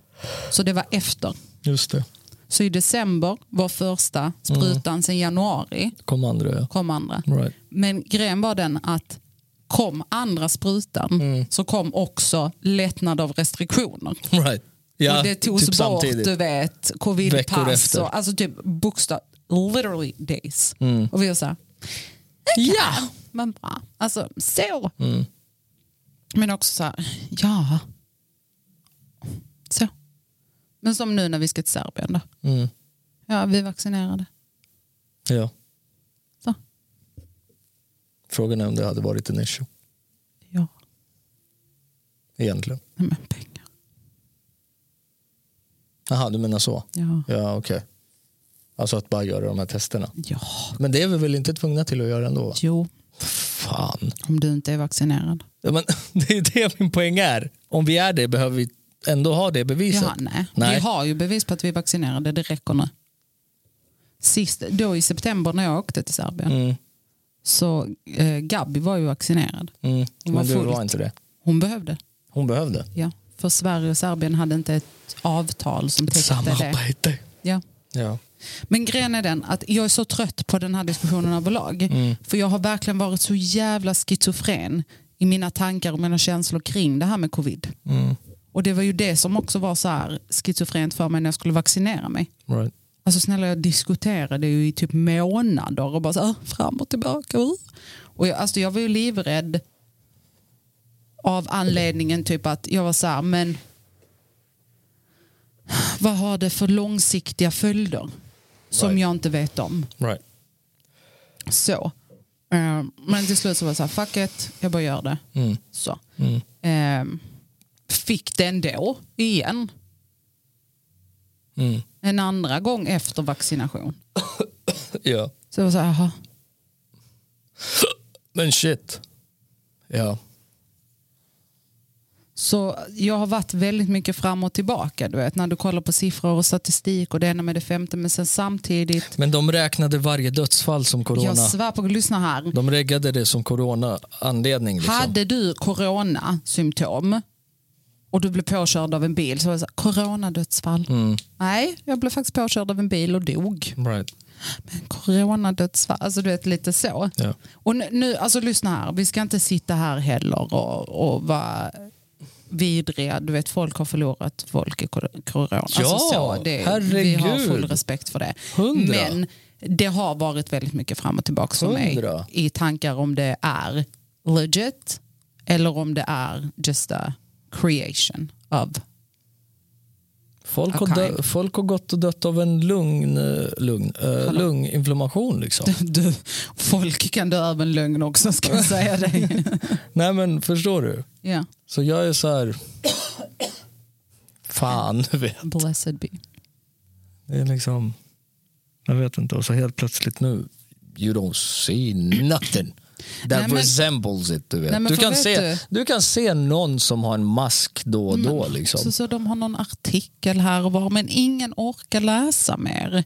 S1: Så det var efter.
S2: just det.
S1: Så i december var första sprutan, sen januari
S2: Kom andra, ja.
S1: kom andra.
S2: Right.
S1: Men grejen var den att kom andra sprutan så kom också lättnad av restriktioner.
S2: Right. Ja,
S1: och det togs
S2: typ
S1: bort,
S2: samtidigt.
S1: du vet,
S2: Veckor
S1: covidpass.
S2: efter.
S1: och- Alltså typ bokstav, literally days. Och vi var så här,
S2: Mm. Ja! Mm.
S1: men bra. Alltså så. Men också så här, ja. Så. Men som nu när vi ska till Serbien då.
S2: Mm.
S1: Ja, vi är vaccinerade.
S2: ja.
S1: Så.
S2: Frågan är om det hade varit en issue
S1: Ja,
S2: egentligen.
S1: Nej, men pengar.
S2: Jaha, du menar så?
S1: Ja.
S2: Ja, okej. Alltså att bara göra de här testerna.
S1: Ja,
S2: Men det är vi väl inte tvungna till att göra ändå? Va?
S1: jo,
S2: Fan.
S1: om du inte är vaccinerad.
S2: Ja, men, det är det min poäng är. Om vi är det behöver vi ändå ha det beviset.
S1: Jaha, nej.
S2: nej.
S1: Vi har ju bevis på att vi är vaccinerade, det räcker nu. Sist, då i september när jag åkte till Serbien så eh, Gabby var ju vaccinerad.
S2: Mm,
S1: Hon
S2: men
S1: var
S2: du
S1: fullt.
S2: var inte det.
S1: Hon behövde,
S2: Hon behövde.
S1: ja. För Sverige och Serbien hade inte ett avtal som täckte det.
S2: Samarbete.
S1: Ja.
S2: Ja.
S1: Men grejen är den att jag är så trött på den här diskussionen överlag.
S2: Mm.
S1: För jag har verkligen varit så jävla schizofren i mina tankar och mina känslor kring det här med covid.
S2: Mm.
S1: Och det var ju det som också var så här schizofrent för mig när jag skulle vaccinera mig.
S2: Right.
S1: Alltså snälla jag diskuterade ju i typ månader och bara så här, fram och tillbaka. uh. Och jag, alltså jag var ju livrädd av anledningen typ att jag var så här, men vad har det för långsiktiga följder som
S2: Right.
S1: jag inte vet om?
S2: Right.
S1: Så. Eh, men till slut så var jag så här, fuck it, jag bara gör det. Så. Eh, fick det ändå, igen. En andra gång efter vaccination.
S2: Ja.
S1: Så jag var så här, jaha.
S2: Men shit. Ja.
S1: Så jag har varit väldigt mycket fram och tillbaka. Du vet, när du kollar på siffror och statistik och det ena med det femte. Men sen samtidigt,
S2: Men de räknade varje dödsfall som corona.
S1: jag svär på, lyssna här.
S2: De reggade det som corona-anledning. Liksom.
S1: Hade du coronasymptom och du blev påkörd av en bil så var det så här, coronadödsfall.
S2: Mm.
S1: Nej, jag blev faktiskt påkörd av en bil och dog.
S2: Right.
S1: Coronadödsfall, alltså du vet lite så.
S2: Ja.
S1: Och nu- nu, alltså lyssna här, vi ska inte sitta här heller och, och vara vidriga. Du vet, folk har förlorat folk i kor- corona.
S2: Ja,
S1: alltså så, det, vi har
S2: herregud.
S1: full respekt för det.
S2: Hundra.
S1: Men det har varit väldigt mycket fram och tillbaka för mig
S2: Hundra.
S1: i tankar om det är legit eller om det är just a creation of.
S2: Folk,
S1: Okej.
S2: har dö- folk har gått och dött av en lugn, eh, lugn, eh, lunginflammation. Liksom.
S1: Du, folk kan dö av en lögn också ska jag säga dig.
S2: Nej, men förstår du?
S1: Ja,
S2: Så jag är så här... Fan, du vet.
S1: blessed be.
S2: Det är liksom... Jag vet inte. Och så helt plötsligt nu... You don't see nothing. That
S1: Nej, men-
S2: resembles it. Du, vet.
S1: Nej, men
S2: du,
S1: för
S2: kan
S1: vet
S2: se,
S1: du- Mm.
S2: du? kan se någon som har en mask då och då. Liksom.
S1: Så, så de har någon artikel här och var, men ingen orkar läsa mer.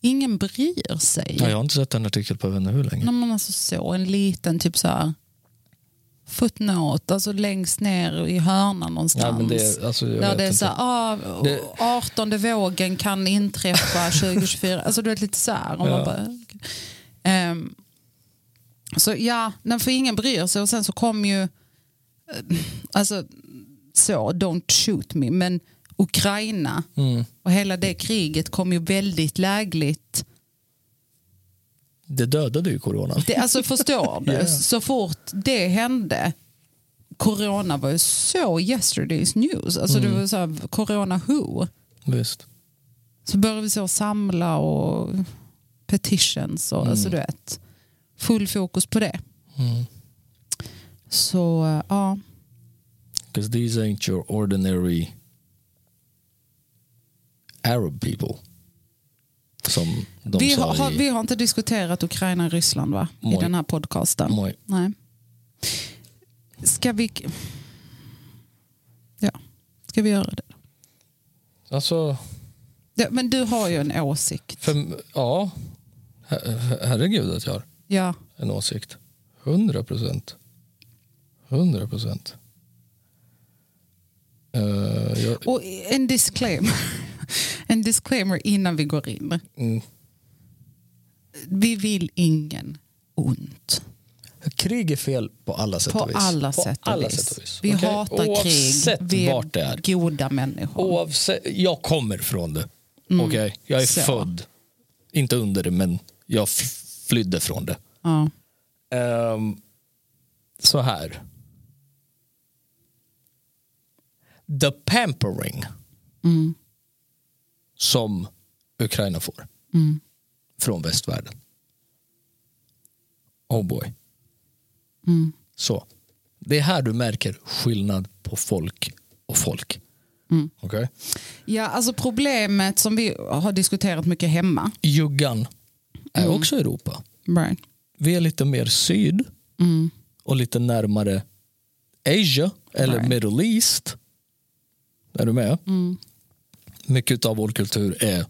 S1: Ingen bryr sig.
S2: Nej, jag har inte sett en artikel på vänner hur länge.
S1: När man alltså så en liten typ så här footnote, alltså längst ner i hörnan någonstans.
S2: Ja, men det- alltså, jag
S1: där
S2: vet
S1: det är
S2: inte.
S1: så här, ah,
S2: Det-
S1: 18 vågen kan inträffa 2024. alltså du vet lite så här. Och man bara, Ehm, så ja, nej, för ingen bryr sig och sen så kom ju, eh, alltså så, don't shoot me, men Ukraina
S2: Mm.
S1: och hela det kriget kom ju väldigt lägligt
S2: Det dödade ju coronan.
S1: det, alltså förstår du? Så fort det hände, corona var ju så yesterday's news. Alltså
S2: Mm.
S1: det var så här, corona who?
S2: Visst.
S1: Så började vi så samla och petitions och
S2: Mm.
S1: alltså du vet, full fokus på det. Så eh, ja,
S2: Because these ain't your ordinary Arab people. Som de
S1: vi
S2: sa
S1: har, har,
S2: i...
S1: vi har inte diskuterat Ukraina och Ryssland va? I
S2: Nej.
S1: den här podcasten.
S2: Moj.
S1: Nej. Ska vi... Ja, ska vi göra det?
S2: Alltså,
S1: Ja, men du har ju en åsikt.
S2: för, ja. Her- Herregud att jag har
S1: Ja.
S2: en åsikt. 100 procent. 100 procent. jag,
S1: Och en disclaimer. En disclaimer innan vi går in.
S2: Mm.
S1: Vi vill ingen ont.
S2: Krig är fel på alla sätt
S1: På
S2: och vis.
S1: alla, sätt, och
S2: alla
S1: vis.
S2: sätt och vis.
S1: Vi
S2: Okej?
S1: hatar
S2: Oavsett
S1: krig. Vi är,
S2: vart det är.
S1: goda människor.
S2: Oavsett, jag kommer från det.
S1: Mm.
S2: Okej? Jag är
S1: Så.
S2: född. Inte under det, men jag f- flydde från det.
S1: Ja.
S2: Ehm, så här. The pampering
S1: Mm.
S2: som Ukraina får
S1: Mm.
S2: från västvärlden. Oh boy.
S1: Mm.
S2: Så. Det är här du märker skillnad på folk och folk.
S1: Mm.
S2: Okej?
S1: ja, alltså problemet som vi har diskuterat mycket hemma.
S2: Juggan är
S1: Mm.
S2: också Europa.
S1: Right.
S2: vi är lite mer syd
S1: Mm.
S2: och lite närmare Asia eller
S1: Right. Mm.
S2: Middle East. Är du med? Mycket av vår kultur är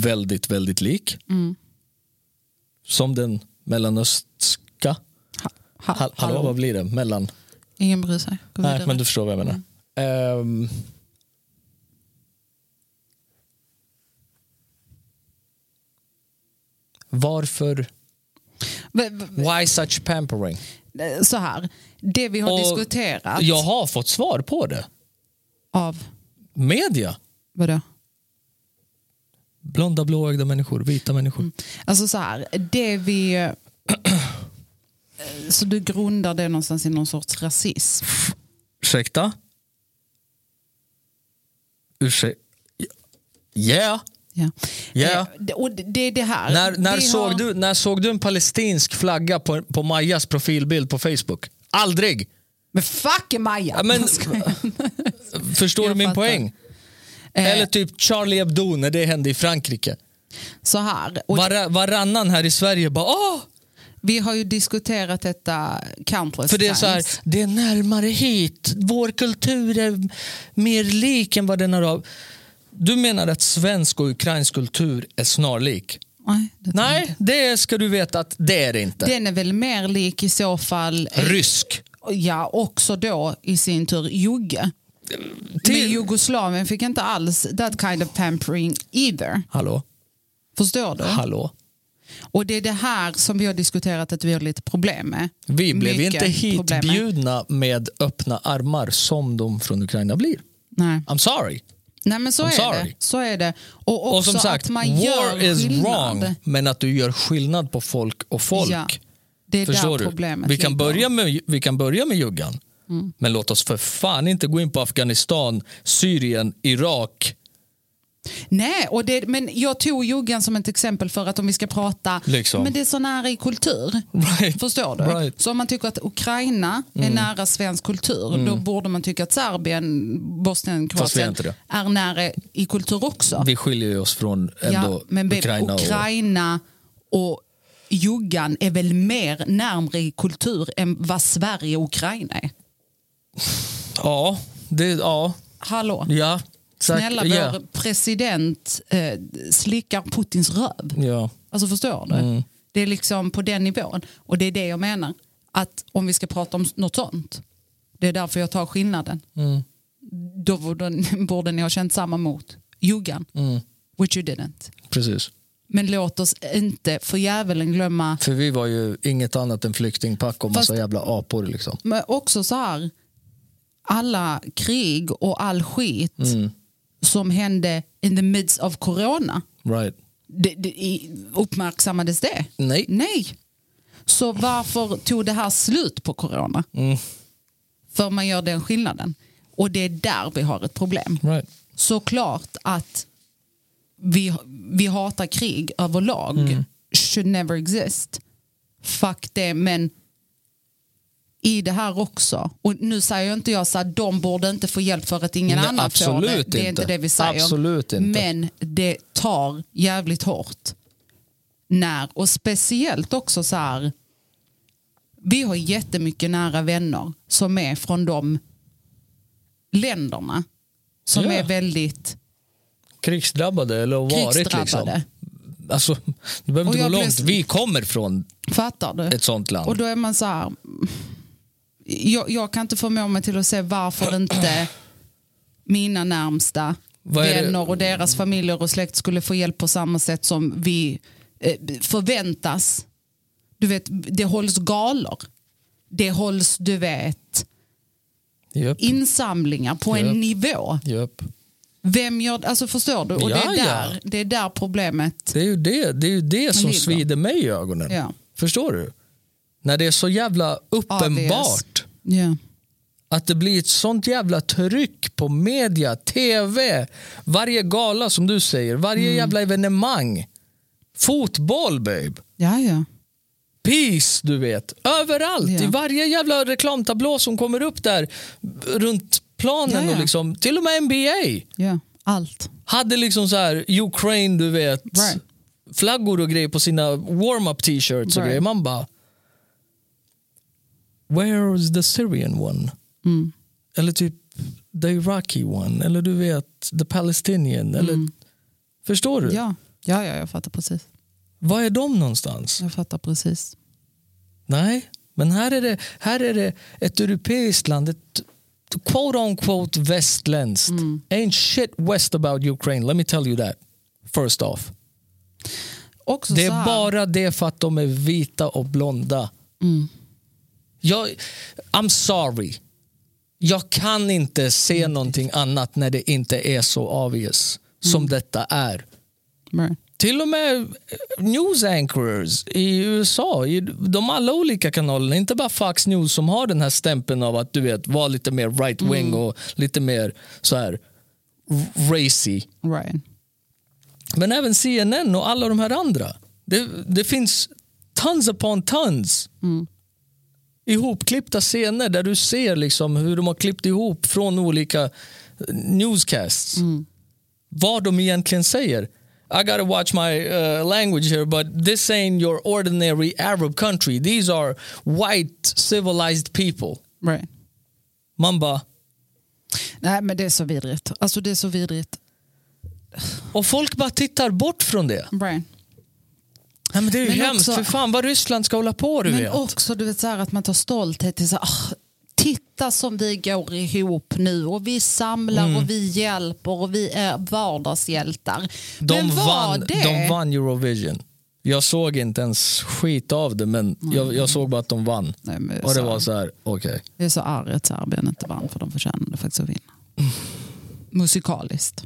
S2: väldigt, väldigt lik.
S1: Mm.
S2: Som den mellanöstska.
S1: Ha,
S2: Hall- Hallå, vad blir det? Mellan...
S1: Ingen bryr sig. Gå
S2: Nej,
S1: vidare.
S2: men du förstår vad jag menar.
S1: Mm.
S2: Ehm. varför?
S1: V- v-
S2: Why such pampering?
S1: Så här, det vi har
S2: Och
S1: diskuterat
S2: Jag har fått svar på det.
S1: av,
S2: Media.
S1: vadå?
S2: Blonda, blåögda människor, vita människor.
S1: Alltså så här, det vi... Så du grundar det någonstans i någon sorts rasism?
S2: Ursäkta? Ursäkta? Yeah.
S1: Ja.
S2: Ja.
S1: Eh, det- Och det- det är det här.
S2: När, när,
S1: Vi
S2: såg
S1: har-
S2: du, när såg du en palestinsk flagga på, på Majas profilbild på Facebook? Aldrig!
S1: Men fuck är Maja!
S2: Ja, men-
S1: Jag skojar.
S2: Förstår du
S1: Jag
S2: min
S1: fattar.
S2: poäng?
S1: Eh,
S2: Eller typ Charlie Hebdo när det hände i Frankrike.
S1: så här. Och
S2: Var, varannan här i Sverige bara åh!
S1: vi har ju diskuterat detta countless
S2: För det är
S1: times.
S2: så här, det är närmare hit. Vår kultur är mer lik än vad den är av. Du menar att svensk och ukrainsk kultur är snarlik?
S1: Nej, det tror jag
S2: Nej,
S1: inte.
S2: det ska du veta att det är det inte.
S1: Den är väl mer lik i så fall,
S2: Rysk.
S1: ja också då i sin tur jugge. Men Jugoslavien fick inte alls that kind of pampering either.
S2: Hallå?
S1: Förstår du?
S2: Hallå?
S1: Och det är det här som vi har diskuterat att vi har lite problem med.
S2: Vi blev
S1: Mycket
S2: inte
S1: problem med.
S2: hitbjudna med öppna armar som de från Ukraina blir.
S1: Nej.
S2: I'm sorry.
S1: Nej men så
S2: I'm
S1: är
S2: sorry.
S1: det. Så är det. Och, också
S2: Och som sagt,
S1: att man gör
S2: war is
S1: skillnad.
S2: wrong. Men att du gör skillnad på folk och folk.
S1: Ja, det är där
S2: Förstår du?
S1: problemet
S2: Vi kan,
S1: ligger. Mm.
S2: börja med, vi kan börja med juggan. Men låt oss för fan inte gå in på Afghanistan, Syrien, Irak.
S1: Nej, och det, men jag tog juggan som ett exempel för att om vi ska prata,
S2: Liksom.
S1: men det är så nära i kultur.
S2: Right.
S1: Förstår du?
S2: Right. Mm.
S1: Så om man tycker att Ukraina är nära svensk kultur, då borde man tycka att Serbien, Bosnien,
S2: Fast vi är
S1: Kroatien
S2: inte det.
S1: är nära i kultur också.
S2: Vi skiljer ju oss från ändå
S1: ja, men babe,
S2: Ukraina. Och,
S1: Ukraina och juggan är väl mer närmare i kultur än vad Sverige och Ukraina är?
S2: ja, det, ja,
S1: Hallå?
S2: ja. Tack,
S1: Snälla,
S2: ja,
S1: vår president eh, slickar Putins röv.
S2: ja.
S1: Alltså förstår du?
S2: Mm.
S1: Det är liksom på den nivån. Och det är det jag menar. Att om vi ska prata om något sånt. Det är därför jag tar skillnaden.
S2: Mm.
S1: Då borde, borde ni ha känt samma mot juggan.
S2: Mm.
S1: Which you didn't.
S2: Precis.
S1: Men låt oss inte för djävulen glömma.
S2: För vi var ju inget annat än flyktingpack och massa jävla apor. Liksom.
S1: Men också så här. Alla krig och all skit som hände in the midst of corona.
S2: Right.
S1: det, det, i- uppmärksammades det?
S2: Nej.
S1: Nej. Så varför tog det här slut på corona? För man gör den skillnaden. Och det är där vi har ett problem.
S2: Right.
S1: Såklart att vi, vi hatar krig överlag.
S2: Mm.
S1: Should never exist. Fuck det, men i det här också. Och nu säger jag inte jag så att de borde inte få hjälp för att ingen
S2: Nej,
S1: annan får det.
S2: absolut
S1: Det är
S2: inte.
S1: inte det vi säger.
S2: Absolut inte.
S1: Men det tar jävligt hårt. När, och speciellt också så här. Vi har jättemycket nära vänner som är från de länderna. Som
S2: Ja.
S1: är väldigt
S2: Krigsdrabbade eller har varit. Liksom.
S1: Krigsdrabbade.
S2: Alltså, du behöver
S1: Och
S2: inte gå
S1: jag
S2: långt.
S1: blev-
S2: Vi kommer från
S1: Fattar du?
S2: ett sånt land.
S1: Och då är man så här. Jag, jag kan inte förmå mig till att se varför inte mina närmsta
S2: Vad är det-
S1: vänner och deras familjer och släkt skulle få hjälp på samma sätt som vi eh, förväntas Du vet, det hålls galor. Det hålls, du vet,
S2: Japp.
S1: insamlingar på
S2: Japp.
S1: en nivå.
S2: Japp.
S1: Vem gör, alltså förstår du? Och det,
S2: Ja,
S1: är
S2: ja.
S1: där, det är där problemet...
S2: Det är ju det, det, är ju det som
S1: ligger.
S2: svider mig i ögonen.
S1: Ja.
S2: Förstår du? När det är så jävla uppenbart
S1: Ja.
S2: att det blir ett sånt jävla tryck på media, tv, varje gala som du säger, varje jävla evenemang. Fotboll babe,
S1: Ja, ja.
S2: peace du vet, överallt,
S1: Ja.
S2: i varje jävla reklamtablå som kommer upp där runt planen
S1: Ja, ja.
S2: och liksom, till och med NBA
S1: ja. Allt.
S2: hade liksom så här Ukraine, du vet,
S1: Right.
S2: flaggor och grejer på sina warm-up t-shirts och
S1: Right.
S2: grejer. Man bara, where is the Syrian one?
S1: Mm.
S2: Eller typ the Iraqi one, eller du vet, the Palestinian. Eller, förstår du?
S1: Mm. Ja. Ja, ja, jag fattar precis.
S2: Var är de någonstans?
S1: Jag fattar precis.
S2: Nej, men här är det, här är det ett europeiskt land, ett quote unquote västländskt.
S1: Mm.
S2: Ain't shit west about Ukraine, let me tell you that. First off.
S1: Också
S2: Det
S1: så här,
S2: är bara det för att de är vita och blonda.
S1: Mm.
S2: Jag, I'm sorry. Jag kan inte se
S1: Mm.
S2: någonting annat när det inte är så obvious som
S1: Mm.
S2: detta är.
S1: Right.
S2: Till och med eh, news anchors i USA, i de alla olika kanalerna, inte bara Fox News som har den här stämpeln av att du vet, vara lite mer right wing
S1: Mm.
S2: och lite mer så här r- racy.
S1: Right.
S2: Men även CNN och alla de här andra. Det, det finns tons upon tons ihopklippta scener där du ser liksom hur de har klippt ihop från olika eh, newscasts. Vad de egentligen säger. I gotta watch my uh, language here but this ain't your ordinary Arab country. These are white civilized people.
S1: Right.
S2: Man bara,
S1: Nej, men det är så vidrigt. Alltså det är så vidrigt.
S2: och folk bara tittar bort från det.
S1: Right.
S2: Nej, men det är ju
S1: Men
S2: hemskt,
S1: också-
S2: för fan vad Ryssland ska hålla på du
S1: Men
S2: vet.
S1: också du vet, så här, att man tar stolthet till så här, "Ah, titta som vi går ihop nu och vi samlar
S2: Mm.
S1: och vi hjälper och vi är vardagshjältar.
S2: De
S1: men var
S2: vann,
S1: det?
S2: de vann Eurovision. Jag såg inte ens skit av det, men jag, jag såg bara att de vann.
S1: Nej, men
S2: och det
S1: så-
S2: var så här, okej.
S1: Jag är så arg att Serbien inte vann för de förtjänade faktiskt att vinna. Musikaliskt.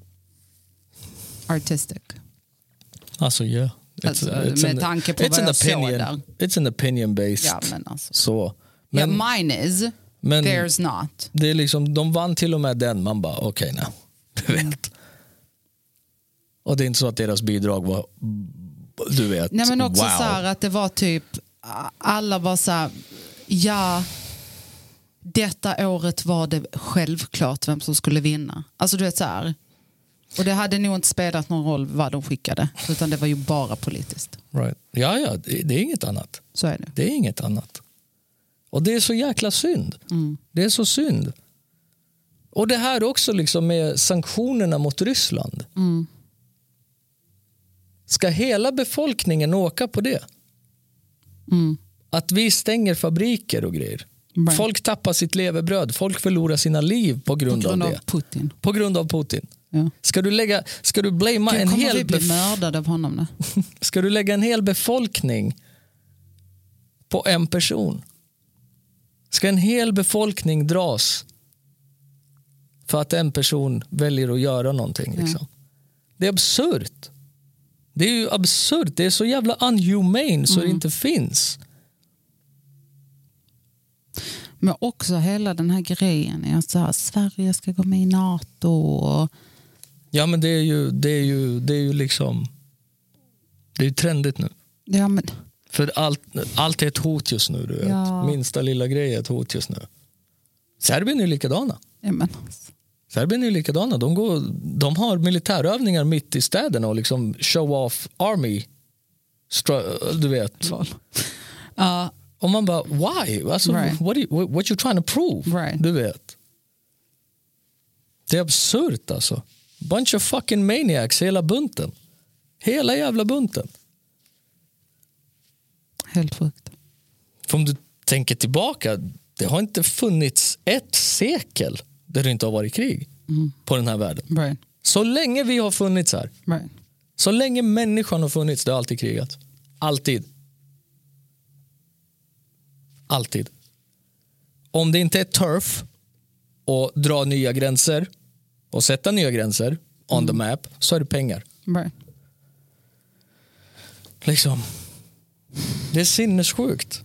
S1: Artistic.
S2: Alltså, yeah. It's,
S1: Alltså, med tanke på
S2: it's
S1: vad
S2: an
S1: jag såg
S2: opinion,
S1: där.
S2: It's an opinion based.
S1: Ja, men alltså.
S2: Så.
S1: Ja,
S2: Men
S1: mine is,
S2: men-
S1: theirs not.
S2: det är liksom, de vann till och med den. Man bara, okej, nej. Du
S1: Mm.
S2: vet. Och det är inte så att deras bidrag var, du vet,
S1: Nej men också
S2: wow.
S1: så här att det var typ, alla var så här, ja, detta året var det självklart vem som skulle vinna. Alltså du vet så här. Och det hade nog inte spelat någon roll vad de skickade, utan det var ju bara politiskt.
S2: right. Ja, ja, det, det är inget annat.
S1: Så är det.
S2: Det är inget annat. Och det är så jäkla synd.
S1: Mm.
S2: Det är så synd. Och det här också liksom med sanktionerna mot Ryssland.
S1: Mm.
S2: Ska hela befolkningen åka på det? Att vi stänger fabriker och grejer.
S1: Mm. Right.
S2: Folk tappar sitt levebröd, folk förlorar sina liv på
S1: På
S2: grund,
S1: grund
S2: av
S1: av
S2: det.
S1: Putin.
S2: På grund av Putin.
S1: Ja.
S2: Ska du lägga, ska du blamea
S1: Gud,
S2: en
S1: kommer
S2: hel
S1: vi bli
S2: bef-
S1: mördade av honom nu?
S2: Ska du lägga en hel befolkning på en person? Ska en hel befolkning dras för att en person väljer att göra någonting? Liksom? Det är absurt. Det är ju absurt. Det är så jävla unhumane så det inte finns.
S1: Men också hela den här grejen, är så här, Sverige ska gå med i NATO och
S2: Ja, men det är ju, det är ju, det är ju liksom... Det är ju trendigt nu.
S1: ja, men,
S2: För allt, allt är ett hot just nu. Du vet.
S1: Ja.
S2: Minsta lilla grej är ett hot just nu. Serbien är ju likadana.
S1: ja, men, alltså.
S2: Serbien är ju likadana. De, går, de har militärövningar mitt i städerna och liksom show off army. Str- du vet.
S1: Ja,
S2: Och man bara, why? Alltså,
S1: Right.
S2: what, are you, what you trying to prove?
S1: Right.
S2: Du vet. Det är absurt alltså. Bunch of fucking maniacs, hela bunten. Hela jävla bunten.
S1: helt sjukt.
S2: För om du tänker tillbaka, det har inte funnits ett sekel där det inte har varit krig
S1: Mm.
S2: på den här världen.
S1: Right,
S2: Så länge vi har funnits här.
S1: right.
S2: Så länge människan har funnits, det har alltid krigat. Alltid. Alltid. Om det inte är turf och dra nya gränser och sätta nya gränser on the map så är det pengar.
S1: Right.
S2: Liksom. Det är sinnessjukt.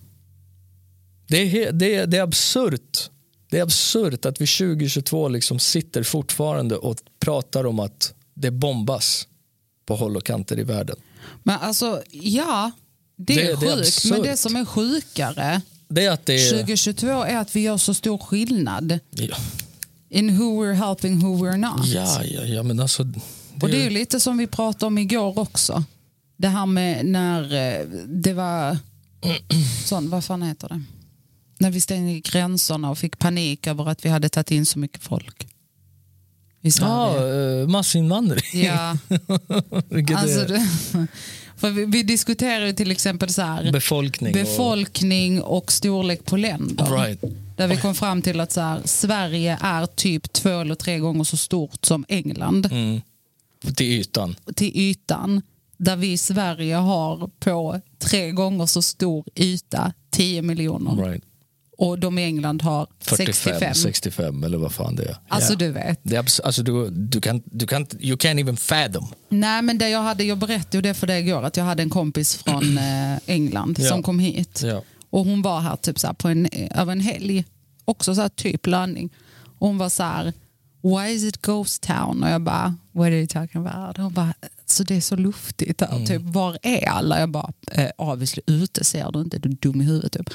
S2: Det är, he- det är, det är absurt. Det är absurt att vi 2022 liksom sitter fortfarande och pratar om att det bombas på håll och kanter i världen.
S1: Men alltså, ja, det,
S2: Det-
S1: är
S2: det är
S1: sjukt.
S2: absurt.
S1: men det som är sjukare
S2: Det är att det är...
S1: 2022 är att vi gör så stor skillnad
S2: Ja,
S1: in who we're helping, who we're not.
S2: ja, ja, ja men alltså... Det
S1: Och det är ju lite som vi pratade om igår också. Det här med när eh, det var sån, vad fan heter det? När vi stängde gränserna och fick panik över att vi hade tagit in så mycket folk. I Sverige.
S2: Ja, eh, massinvandring.
S1: Ja,
S2: Vilket
S1: alltså
S2: är
S1: det, för vi, vi diskuterar ju till exempel så här.
S2: befolkning.
S1: befolkning och storlek på länder.
S2: Right.
S1: Där vi kom fram till att så här, Sverige är typ två eller tre gånger så stort som England
S2: Mm. Och, till ytan.
S1: till ytan. Där vi i Sverige har på tre gånger så stor yta 10 miljoner.
S2: Right.
S1: Och de i England har
S2: 45,
S1: 65.
S2: 65 eller vad fan det är.
S1: Alltså
S2: Ja.
S1: du vet.
S2: Det är abs- alltså, du, du kan, du kan, you can't even fathom.
S1: Nej men det jag hade, jag berättade ju det för dig igår att jag hade en kompis från eh, England
S2: Ja.
S1: som kom hit.
S2: Ja.
S1: Och hon var här typ så här på en, över en helg. Också så här typ landning. Och hon var så här, why is it ghost town? Och jag bara, what are you talking about? Hon bara, så det är så luftigt
S2: Mm.
S1: här. Typ, var är alla? Jag bara, eh, obviously ute ser du inte, du är dum i huvudet. Typ.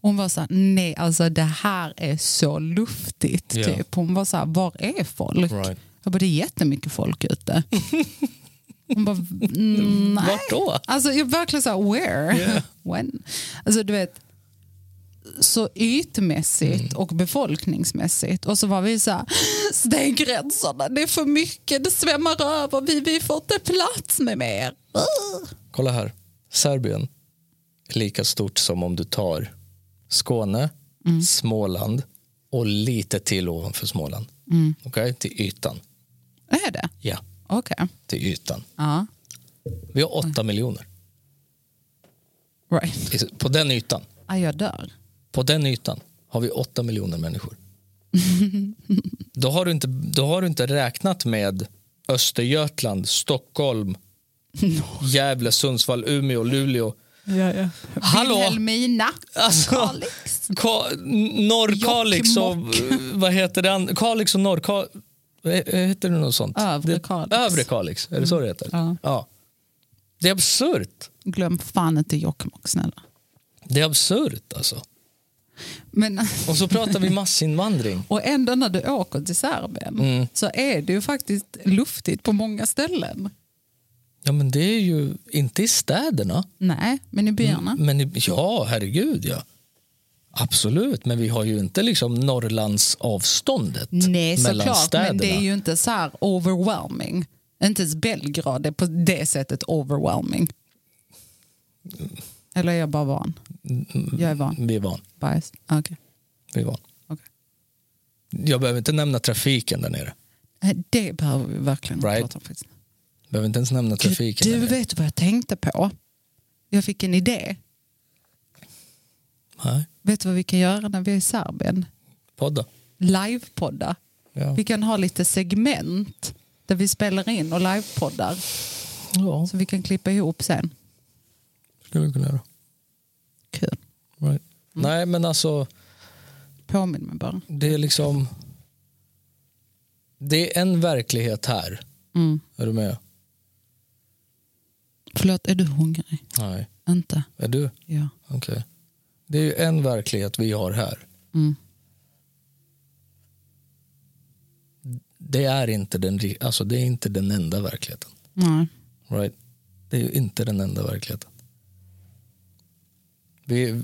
S1: Hon var så här, nej alltså det här är så luftigt.
S2: Ja.
S1: Typ. Hon var så här, var är folk?
S2: Right.
S1: Jag bara, det är jättemycket folk ute. Hon bara, mm, nej.
S2: Vart då?
S1: Alltså jag verkligen så här, where? When? Alltså du vet, så ytmässigt
S2: Mm.
S1: och befolkningsmässigt. Och så var vi så här, stäng gränserna, det är för mycket, det svämmar över, vi, vi får inte plats med mer. Ugh.
S2: Kolla här. Serbien är lika stort som om du tar Skåne, Småland och lite till ovanför Småland. Mm. Okej, till ytan.
S1: Är det?
S2: Ja,
S1: Okej.
S2: till ytan.
S1: Ja,
S2: Vi har åtta miljoner
S1: right.
S2: I- Liksom, på den ytan.
S1: Ah, jag dör.
S2: På den ytan har vi 8 miljoner människor. då, har du inte, då har du inte räknat med Östergötland, Stockholm, Gävle, Sundsvall, Umeå, Luleå.
S1: Ja, ja.
S2: Hallå!
S1: Vilhelmina.
S2: Alltså,
S1: Kalix.
S2: Ka- Norrkalix och eh, vad heter det? an- Kalix och Norrkalix. Heter det något sånt?
S1: Övre
S2: Det-
S1: Kalix.
S2: Övre Kalix, är det så det heter?
S1: Ja.
S2: Det är absurt.
S1: Glöm fan inte Jokkmokk snälla.
S2: Det är absurt alltså.
S1: Men
S2: Och så pratar vi massinvandring.
S1: Och ändå när du åker till Serbien
S2: Mm.
S1: så är det ju faktiskt luftigt på många ställen.
S2: Ja, men det är ju inte i städerna.
S1: Nej, men i byarna.
S2: Men i- ja, herregud ja. Absolut, men vi har ju inte liksom Norrlandsavståndet
S1: Nej,
S2: mellan
S1: såklart.
S2: städerna.
S1: Men det är ju inte så här overwhelming. Inte ens Belgrad är på det sättet overwhelming.
S2: Mm.
S1: Eller är jag bara van? Jag är van.
S2: Vi är van.
S1: Bajs. Okej.
S2: Vi är van.
S1: okej.
S2: Jag behöver inte nämna trafiken där nere.
S1: Eh, Det behöver vi verkligen inte
S2: Right.
S1: prata om. Faktiskt.
S2: Behöver inte ens nämna trafiken.
S1: Du
S2: där nere.
S1: vet vad jag tänkte på? Jag fick en idé.
S2: Nej,
S1: Vet du vad vi kan göra när vi är i Serbien?
S2: podda.
S1: Livepodda.
S2: Ja.
S1: Vi kan ha lite segment där vi spelar in och livepoddar
S2: Ja,
S1: så vi kan klippa ihop sen.
S2: skulle vi kunna göra.
S1: Kul. Mm.
S2: Right. Nej, men alltså,
S1: Påminn mig bara.
S2: det är liksom... Det är en verklighet här.
S1: Mm.
S2: Är du med?
S1: Förlåt, är du hungrig?
S2: Nej.
S1: Inte?
S2: Är du?
S1: Ja.
S2: Okej. Det är ju en verklighet vi har här.
S1: Mm.
S2: Det är inte den, ri- alltså det är inte den enda verkligheten.
S1: Nej.
S2: Right? Det är ju inte den enda verkligheten. Vi,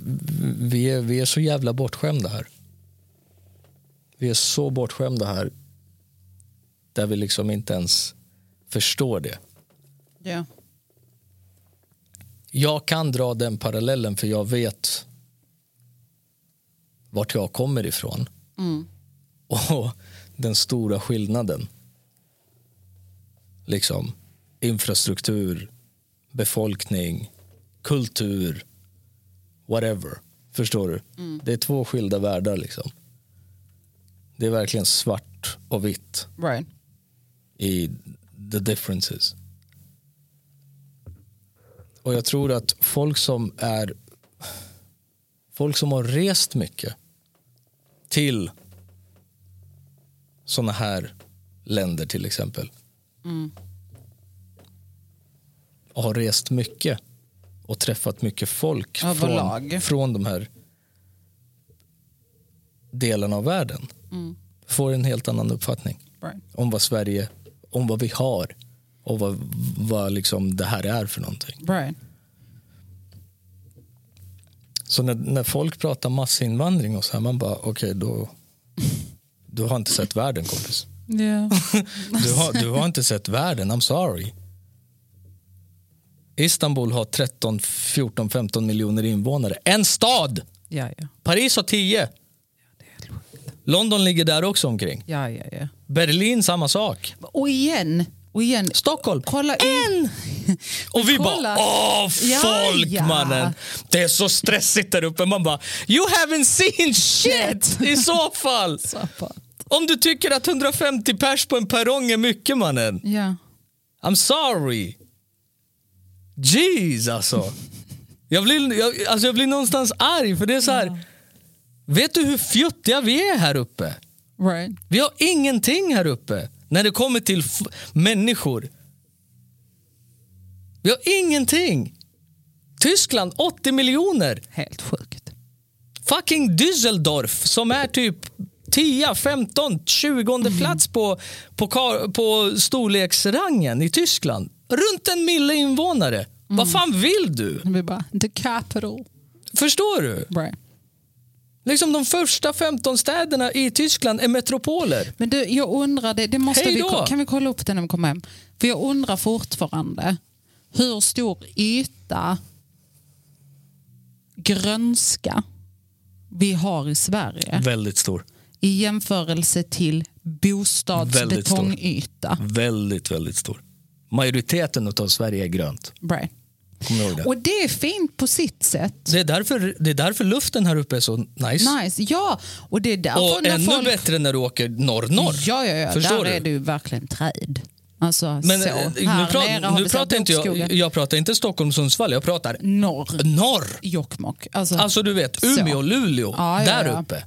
S2: vi, är, vi är så jävla bortskämda här. Vi är så bortskämda här där vi liksom inte ens förstår det.
S1: Ja.
S2: Jag kan dra den parallellen för jag vet vart jag kommer ifrån. Och den stora skillnaden. Liksom infrastruktur, befolkning, kultur, whatever. Förstår du? Det är två skilda världar liksom. Det är verkligen svart och vitt
S1: Right.
S2: i the differences. Och jag tror att folk som är folk som har rest mycket till sådana här länder till exempel. Och har rest mycket och träffat mycket folk från,
S1: Överlag.
S2: från de här delarna av världen. Får en helt annan uppfattning
S1: Right.
S2: om vad Sverige, om vad vi har och vad, vad liksom det här är för någonting.
S1: Right.
S2: Så när, när folk pratar massinvandring och så här, man bara okej då du har inte sett världen kompis.
S1: Yeah.
S2: Du har, du har inte sett världen, I'm sorry. Istanbul har 13, 14, 15 miljoner invånare. En stad!
S1: ja, ja.
S2: Paris har 10. London ligger där också omkring.
S1: Ja, ja, ja.
S2: Berlin samma sak.
S1: Och igen. Och igen.
S2: Stockholm.
S1: Kolla en!
S2: Och vi
S1: Kolla.
S2: bara åh
S1: Ja,
S2: folk
S1: ja.
S2: mannen. Det är så stressigt där uppe. Man bara you haven't seen shit i så fall. Om du tycker att 150 pers på en perrong är mycket mannen.
S1: Ja.
S2: I'm sorry. Jeez alltså. Jag blir, jag, alltså jag blir någonstans arg för det är så här. Vet du hur fjuttiga vi är här uppe?
S1: Right.
S2: Vi har ingenting här uppe när det kommer till f- människor. Vi har ingenting. Tyskland 80 miljoner.
S1: Helt sjukt.
S2: Fucking Düsseldorf som är typ 10, 15, 20 plats på, på, kar- på storleksrangen i Tyskland. Runt en mille invånare. Vad fan vill du?
S1: Vi bara, the capital.
S2: Förstår du?
S1: Right.
S2: Liksom de första 15 städerna i Tyskland är metropoler.
S1: Men du, jag undrar, det, det måste
S2: Hej
S1: vi,
S2: då!
S1: ko- kan vi kolla upp det när vi kommer hem? För jag undrar fortfarande hur stor yta grönska vi har i Sverige
S2: Väldigt stor.
S1: i jämförelse till
S2: Väldigt stor.
S1: bostadsbetongyta.
S2: Mm. Väldigt, väldigt stor. Majoriteten av Sverige är grönt.
S1: Right.
S2: Kom ihåg det.
S1: Och det är fint på sitt sätt.
S2: Det är, därför, det är därför luften här uppe är så nice.
S1: Nice. Ja, och det är därför
S2: Och
S1: när
S2: ännu
S1: folk...
S2: bättre när du åker norr-norr.
S1: Ja, ja, ja.
S2: Förstår
S1: där
S2: du?
S1: är det ju verkligen träd. Alltså,
S2: Men
S1: så.
S2: eh, nu,
S1: Här nere
S2: pratar,
S1: har
S2: nu
S1: vi så här
S2: pratar inte jag,
S1: bokskogen.
S2: jag pratar inte Stockholm, Sundsvall, jag pratar
S1: Norr,
S2: norr.
S1: Jokkmokk. Alltså,
S2: Alltså du vet, Umeå,
S1: Så.
S2: Luleå,
S1: Ja, ja,
S2: där
S1: ja.
S2: uppe.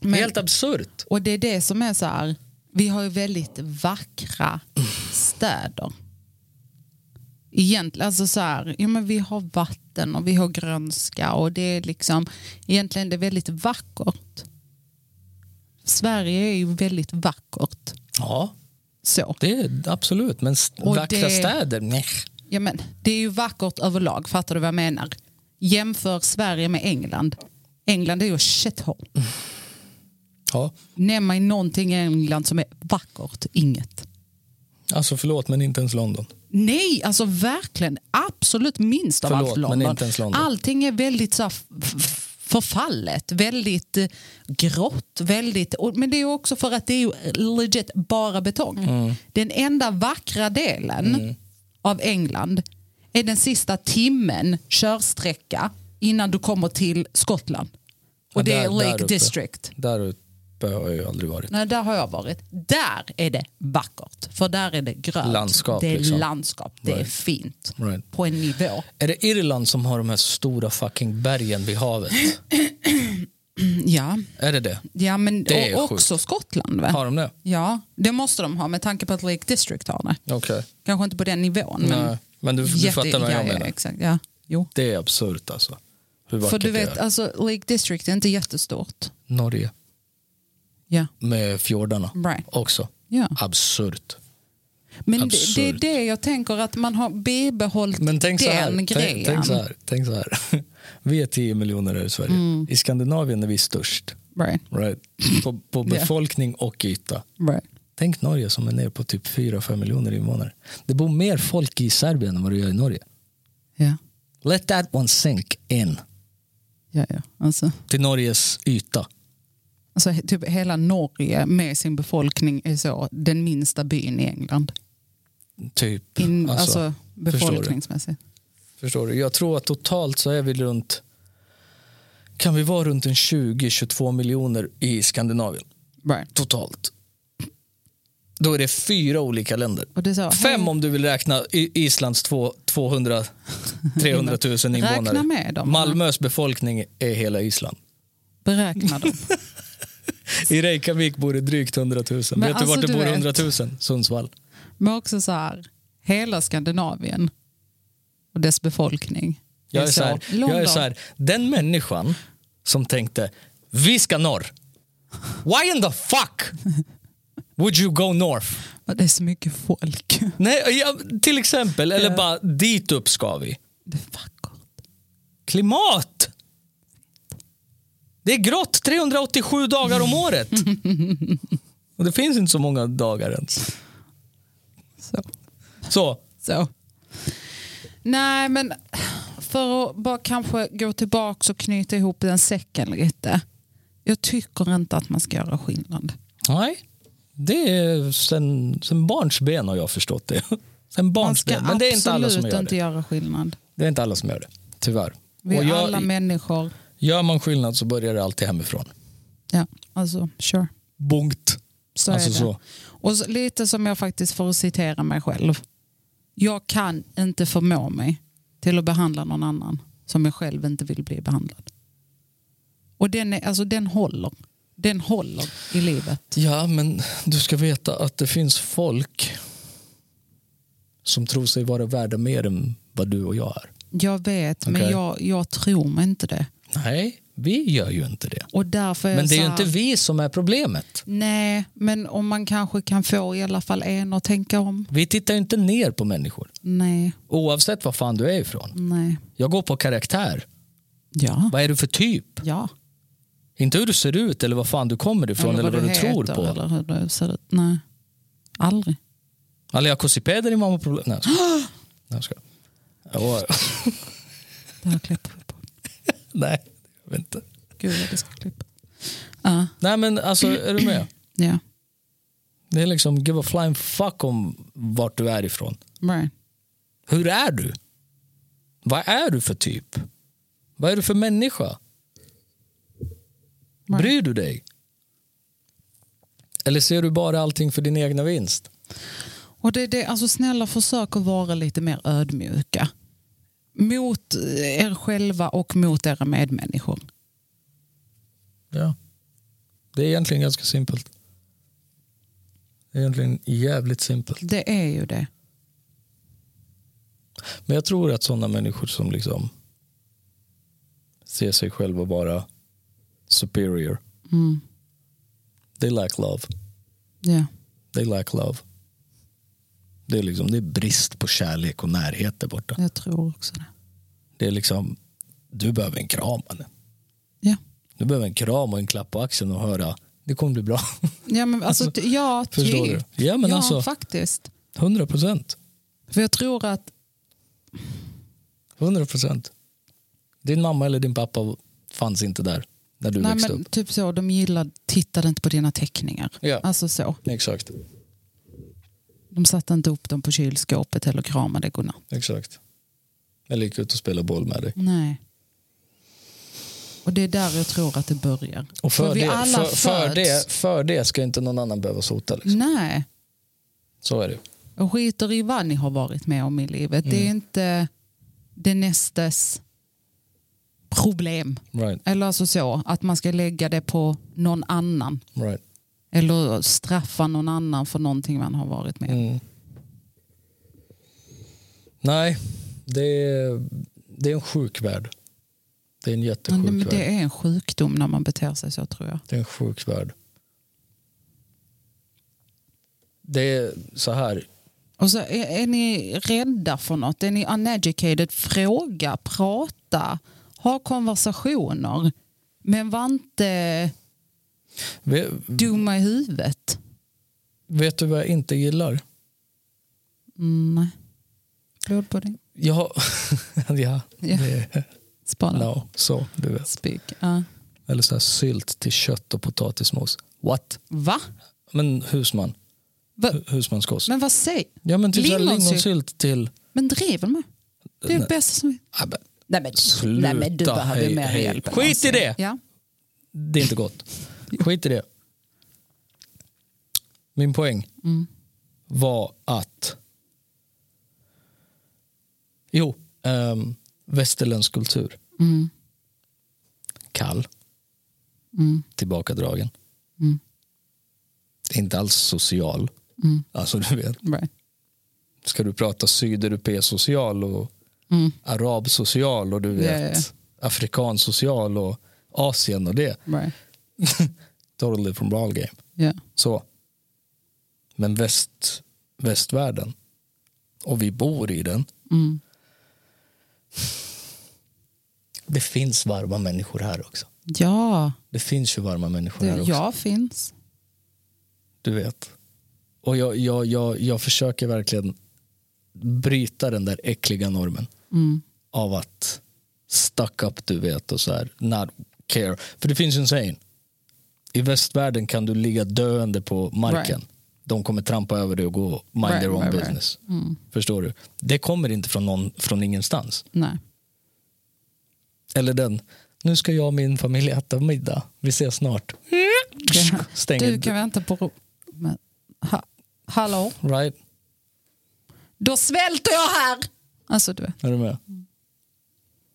S1: Men-
S2: Helt absurt.
S1: Och det är det som är så här, vi har ju väldigt vackra städer. Egentligen, alltså så här, ja men vi har vatten och vi har grönska och det är liksom, egentligen det är väldigt vackert. Sverige är ju väldigt vackert.
S2: Ja,
S1: Så.
S2: det är absolut. Men st-
S1: Och
S2: vackra
S1: det-
S2: städer, nej.
S1: Ja, men, det är ju vackert överlag, fattar du vad jag menar? Jämför Sverige med England. England är ju shithole.
S2: Ja,
S1: Nämn mig någonting i England som är vackert. Inget.
S2: alltså förlåt men inte ens London.
S1: Nej, alltså verkligen. Absolut minst av
S2: Förlåt,
S1: allt
S2: men
S1: London.
S2: inte ens London.
S1: Allting är väldigt så här, f- f- förfallet, väldigt eh, grått. Väldigt, och, men det är ju också för att det är ju legit bara betong.
S2: Mm.
S1: Den enda vackra delen av England är den sista timmen körsträcka innan du kommer till Skottland. Och
S2: Ja,
S1: det
S2: där-
S1: är
S2: där
S1: Lake
S2: uppe.
S1: District.
S2: Där uppe har jag ju aldrig varit.
S1: Nej, där har jag varit. Där är det vackert. För där är det grönt.
S2: Landskap,
S1: det är
S2: liksom.
S1: landskap. Det är
S2: Right.
S1: fint.
S2: Right.
S1: På en nivå.
S2: Är det Irland som har de här stora fucking bergen vid havet?
S1: Ja,
S2: är det det?
S1: ja men
S2: Det är
S1: och också Skottland. Va?
S2: Har de det?
S1: Ja, det måste de ha med tanke på att Lake District har det.
S2: Okej.
S1: Kanske inte på den nivån.
S2: Nej, men du, du
S1: jätte-
S2: fattar vad jag
S1: ja, Ja,
S2: menar.
S1: exakt, ja. Jo.
S2: Det är absurt alltså. Hur
S1: För
S2: vackert
S1: du
S2: det
S1: vet,
S2: är.
S1: alltså, Lake District är inte jättestort.
S2: Norge.
S1: Ja.
S2: med fjordarna
S1: Right.
S2: också.
S1: Ja.
S2: Absurt.
S1: Men det,
S2: Absurt.
S1: det är det jag tänker att man har bibehållit
S2: Men tänk så,
S1: den
S2: här,
S1: grejen.
S2: tänk, tänk, så här, tänk så här. Vi är 10 miljoner här i Sverige. I Skandinavien är vi störst.
S1: Right.
S2: Right? På, på
S1: Ja.
S2: befolkning och yta.
S1: Right.
S2: Tänk Norge som är ner på typ 4-5 miljoner invånare. Det bor mer folk i Serbien än vad det gör i Norge.
S1: Ja.
S2: Let that one sink in.
S1: Ja, ja. Alltså.
S2: Till Norges yta.
S1: Alltså, he- typ hela Norge med sin befolkning är så den minsta byn i England.
S2: Typ.
S1: In, alltså,
S2: förstår du?
S1: befolkningsmässigt.
S2: Förstår du? Jag tror att totalt så är vi runt kan vi vara runt en 20-22 miljoner i Skandinavien
S1: Right.
S2: totalt. Då är det fyra olika länder.
S1: Och det sa,
S2: Fem
S1: hej.
S2: om du vill räkna I- Islands två- 200 300 000 invånare.
S1: Räkna med dem.
S2: Malmös befolkning är hela Island.
S1: Beräkna dem.
S2: I Reykjavik bor det drygt 100 000.
S1: Men
S2: vet du vart
S1: alltså,
S2: det
S1: du
S2: bor
S1: vet.
S2: 100 000? Sundsvall.
S1: Men också så här, hela Skandinavien och dess befolkning. Det
S2: Jag är, så här, jag är
S1: London.
S2: så här, den människan som tänkte vi ska norr. Why in the fuck would you go north?
S1: Och Det är så mycket folk.
S2: Nej, ja, till exempel, eller bara dit upp ska vi.
S1: Det är vackert.
S2: Klimat! Det är grått 387 dagar om året. Och det finns inte så många dagar ens.
S1: Så.
S2: Så,
S1: Så. Nej, men för att bara kanske gå tillbaka och knyta ihop den säcken lite. Jag tycker inte att man ska göra skillnad.
S2: nej. Det är sen, sen barnsben har jag förstått det. Sen
S1: Man ska
S2: barnsben. Men det är inte alla som
S1: absolut
S2: gör
S1: inte
S2: det.
S1: göra skillnad.
S2: Det är inte alla som gör det, tyvärr.
S1: Vi
S2: Och
S1: är
S2: gör-
S1: alla människor.
S2: Gör man skillnad så börjar det alltid hemifrån.
S1: Ja, alltså sure.
S2: Bunkt.
S1: Så
S2: Alltså
S1: är det.
S2: så.
S1: Och så, lite som jag faktiskt får citera mig själv. Jag kan inte förmå mig till att behandla någon annan som jag själv inte vill bli behandlad. Och den, är, alltså, den håller. Den håller i livet.
S2: Ja, men du ska veta att det finns folk som tror sig vara värda mer än vad du och jag är.
S1: Jag vet, men
S2: Okej.
S1: jag, jag tror mig inte det.
S2: Nej, vi gör ju inte det.
S1: Och därför är
S2: Men det är ju
S1: Eh, så här,
S2: inte vi som är problemet.
S1: Nej, men om man kanske kan få i alla fall en att tänka om.
S2: Vi tittar ju inte ner på människor.
S1: Nej,
S2: Oavsett var fan du är ifrån.
S1: nej.
S2: Jag går på karaktär.
S1: Ja.
S2: Vad är du för typ?
S1: Ja.
S2: Inte hur du ser ut eller var fan du kommer ifrån eller, vad du, tror
S1: heter,
S2: på.
S1: Eller hur du ser ut. Nej. Aldrig.
S2: Alla jag har korsipeder i mamma problem. Nej, jag skojar. Nej, jag skojar.
S1: Det här klipper vi på.
S2: Nej, jag vet inte.
S1: Gud vad det ska klippa. Ja.
S2: Nej men alltså, är du med?
S1: ja.
S2: Det är liksom give a flying fuck om vart du är ifrån.
S1: Right.
S2: Hur är du? Vad är du för typ? Vad är du för människa? Bryr du dig? Eller ser du bara allting för din egna vinst?
S1: Och det, det, alltså snälla försök att vara lite mer ödmjuka. Mot eh, er själva och mot era medmänniskor.
S2: Ja. Det är egentligen ganska simpelt. Det är egentligen jävligt simpelt.
S1: Det är ju det.
S2: Men jag tror att sådana människor som liksom ser sig själva vara superior. Mm. They lack love.
S1: Ja.
S2: They lack love. Det är, liksom, det är brist på kärlek och närhet där borta.
S1: Jag tror också det.
S2: Det är liksom, du behöver en kram. mannen.
S1: Ja.
S2: Du behöver en kram och en klapp på axeln och höra, det kommer bli bra.
S1: Ja, men alltså,
S2: Alltså,
S1: ty- ja,
S2: förstår
S1: typ.
S2: du? Ja, men
S1: ja
S2: alltså-
S1: faktiskt.
S2: 100 procent.
S1: För jag tror att,
S2: 100 procent. Din mamma eller din pappa fanns inte där när du
S1: nej,
S2: växte
S1: men,
S2: upp.
S1: typ så, de gillade, tittade inte på dina teckningar.
S2: Ja.
S1: Alltså så.
S2: Exakt.
S1: De satte inte upp dem på kylskåpet eller kramade godnatt.
S2: Exakt. Eller gick ut och spelade boll med dig.
S1: Nej. Och det är där jag tror att det börjar.
S2: Och för,
S1: vi
S2: det,
S1: alla
S2: för, för,
S1: föds-
S2: det, för det ska inte någon annan behöva sota. Liksom.
S1: Nej.
S2: Så är det.
S1: Jag skiter i vad ni har varit med om i livet. Det är
S2: Mm.
S1: inte det nästes problem.
S2: Right,
S1: Eller alltså så, att man ska lägga det på någon annan.
S2: right.
S1: Eller straffa någon annan för någonting man har varit med om.
S2: Mm. Nej, det är, det är en sjuk värld. Det är en jättesjuk
S1: Men
S2: värld.
S1: det är en sjukdom när man beter sig så tror jag.
S2: Det är en sjuk värld. Det är så här.
S1: Och så är, är ni rädda för något? Är ni uneducated? Fråga, prata, ha konversationer. Men var inte
S2: Vet,
S1: dumma i huvudet.
S2: vet du vad jag inte gillar?
S1: Nej. Blodpudding.
S2: Jag... ja,
S1: Ja.
S2: det,
S1: Spana.
S2: no, så, du vet.
S1: Spik. Ja.
S2: Eller så här sylt till kött och potatismos. What?
S1: Va?
S2: Men husman.
S1: Va?
S2: Hu- Husmanskost.
S1: Men vad säger...
S2: ja, men typ så här
S1: lingonsylt.
S2: lingonsylt till...
S1: Men driver med. Det är det bästa som...
S2: Ja, men,
S1: Nej men,
S2: Sluta,
S1: nej, men du behöver
S2: hej,
S1: mer
S2: hej.
S1: hjälp. än
S2: Skit i
S1: någonsin.
S2: det!
S1: Ja.
S2: Det är inte gott. Skit i det. Min poäng var att... Jo, um, västerländsk kultur. Kall. Tillbakadragen. Inte alls social. Alltså, du vet,
S1: Right.
S2: ska du prata sydeuropeisk social och arab social och du vet
S1: Ja, ja,
S2: afrikan social och Asien och det.
S1: Right.
S2: Totally from ball game.
S1: Yeah.
S2: Så. Men väst, västvärlden och vi bor i den. Det finns varma människor här också.
S1: Ja,
S2: Det finns ju varma människor här
S1: det,
S2: också.
S1: jag finns.
S2: Du vet. Och jag, jag, jag, jag försöker verkligen bryta den där äckliga normen
S1: Mm.
S2: av att stuck up, du vet, och så här, not care. För det finns ju en sägning. I västvärlden kan du ligga döende på marken.
S1: Right.
S2: De kommer trampa över dig och gå mind
S1: Right,
S2: their own
S1: right, Mm. right.
S2: business. Förstår du? Det kommer inte från, någon, från ingenstans.
S1: Nej.
S2: Eller den, nu ska jag och min familj äta middag. Vi ses snart.
S1: Det-
S2: Stänger.
S1: Du kan vänta på... ro- Men, ha, hallå?
S2: Right?
S1: Då svälter jag här! Alltså du vet.
S2: Är du med?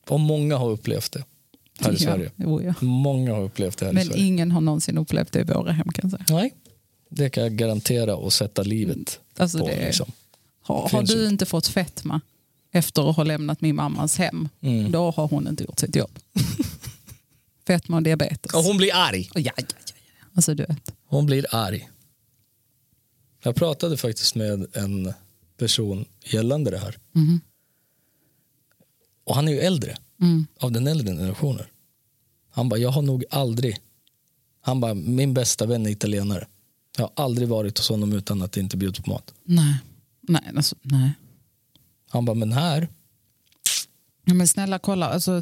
S2: Och många har upplevt det här i
S1: Ja,
S2: Sverige.
S1: jo, ja.
S2: Många har upplevt det här i
S1: Men
S2: Sverige.
S1: ingen har någonsin upplevt det i våra hem kan jag säga.
S2: Nej, det kan jag garantera och sätta livet
S1: Alltså,
S2: på.
S1: det är-
S2: Liksom.
S1: Har, har
S2: Finns
S1: du
S2: inte.
S1: inte fått fetma efter att ha lämnat min mammas hem,
S2: Mm.
S1: då har hon inte gjort sitt jobb. fetma och diabetes.
S2: Och hon blir arg.
S1: Ja, ja, ja, ja. Alltså du vet.
S2: Hon blir arg. Jag pratade faktiskt med en person gällande det här.
S1: Mhm.
S2: Och han är ju äldre,
S1: Mm.
S2: av den äldre generationen. Han bara, jag har nog aldrig, han bara, min bästa vän är italienare. Jag har aldrig varit hos honom utan att det inte bjuds på mat.
S1: Nej, nej, alltså, nej.
S2: Han bara, men här,
S1: Ja, men snälla kolla, alltså,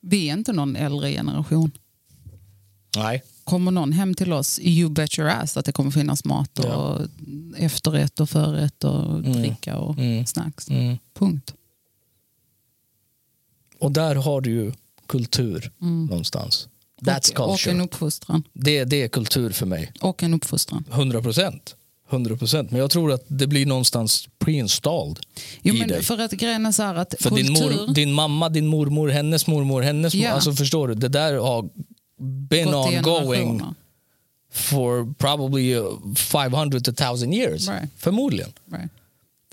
S1: vi är inte någon äldre generation.
S2: nej,
S1: Kommer någon hem till oss, you bet your ass att det kommer finnas mat och efterrätt och förrätt och
S2: Mm.
S1: dricka och snacks. Punkt.
S2: Och där har du ju kultur
S1: Mm.
S2: någonstans. That's
S1: och, och en
S2: culture.
S1: uppfostran.
S2: Det, det är kultur för mig.
S1: Och en uppfostran.
S2: 100 procent. 100 procent. Men jag tror att det blir någonstans preinstalled
S1: Jo,
S2: i
S1: men
S2: dig. För,
S1: för att grejen är så här att kultur...
S2: din, mor, din mamma, din mormor, hennes mormor, hennes
S1: Ja.
S2: mormor. Alltså förstår du, det där har been
S1: gått i
S2: ongoing
S1: generationer.
S2: for probably uh, 500 to 1000 years.
S1: Right.
S2: Förmodligen.
S1: Right.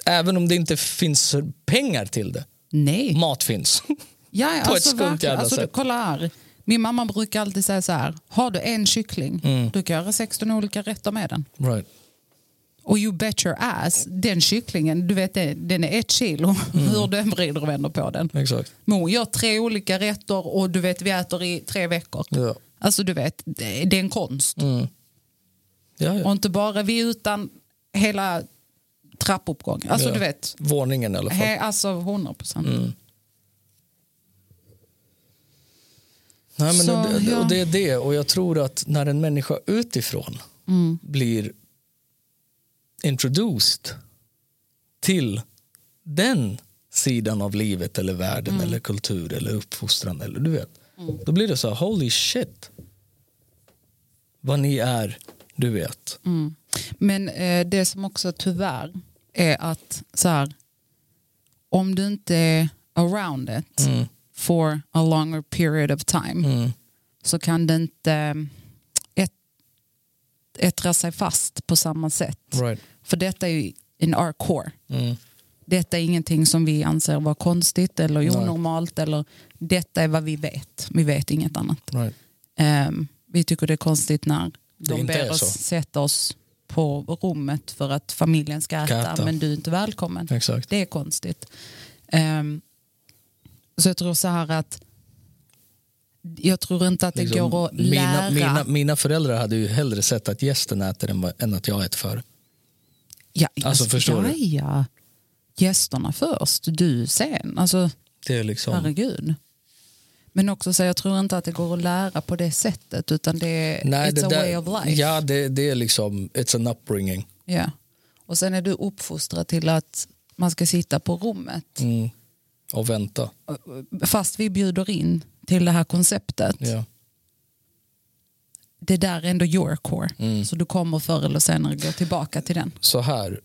S2: Även om det inte finns pengar till det.
S1: Nej.
S2: Mat finns.
S1: Ja, ja,
S2: på ett
S1: alltså,
S2: skumt
S1: verkligen.
S2: jävla
S1: alltså, du,
S2: sätt.
S1: kolla här. Min mamma brukar alltid säga så här. Har du en kyckling,
S2: Mm.
S1: du kan göra 16 olika rätter med den.
S2: Right.
S1: Och you bet your ass, den kycklingen, du vet det- den är ett kilo
S2: Mm.
S1: hur du än vrider och vänder på den.
S2: Exakt.
S1: Men hon gör tre olika rätter och du vet vi äter i tre veckor.
S2: Ja. Mm.
S1: Alltså du vet, det det är en konst.
S2: Ja, ja.
S1: Och inte bara vi utan hela trappuppgången. Alltså
S2: Ja. Mm.
S1: du vet,
S2: Våningen i alla fall.
S1: he, alltså 100 procent.
S2: Nej, men
S1: Så,
S2: och det,
S1: ja.
S2: och det är det. Och jag tror att när en människa utifrån
S1: Mm.
S2: blir introduced till den sidan av livet eller världen
S1: Mm.
S2: eller kultur eller uppfostran eller du vet. Då blir det så här, holy shit. Vad ni är, du vet.
S1: Mm. Men eh, det som också tyvärr är att så här, om du inte är around it
S2: Mm.
S1: for a longer period of time så kan det inte mm, ett, ettra sig fast på samma sätt.
S2: Right.
S1: För detta är ju in our core.
S2: Mm.
S1: Detta är ingenting som vi anser vara konstigt eller onormalt. Eller, detta är vad vi vet. Vi vet inget annat.
S2: Right.
S1: Ehm, vi tycker det är konstigt när de
S2: inte
S1: ber
S2: är
S1: oss
S2: så.
S1: sätta oss på rummet för att familjen ska äta,
S2: äta.
S1: men du är inte välkommen.
S2: Exakt.
S1: Det är konstigt. Ehm, så jag tror så här att jag tror inte att det
S2: Liksom,
S1: går att
S2: mina,
S1: lära.
S2: mina, mina föräldrar hade ju hellre sett att gästen äter än, vad- än att jag äter för.
S1: ja,
S2: alltså, förstår
S1: ja,
S2: du?
S1: Ja. Gästerna först, du sen. Alltså,
S2: Det är liksom...
S1: herregud. Men också så här, jag tror inte att det går att lära på det sättet utan det är
S2: Nej,
S1: it's
S2: det
S1: a
S2: där-
S1: way of life.
S2: Ja, det, det är liksom, it's an upbringing. Mm.
S1: Ja. Och sen är du uppfostrad till att man ska sitta på rummet.
S2: och vänta.
S1: Fast vi bjuder in till det här konceptet.
S2: Ja.
S1: Det där är ändå your core.
S2: Mm.
S1: Så du kommer förr eller senare gå tillbaka till den.
S2: Så här,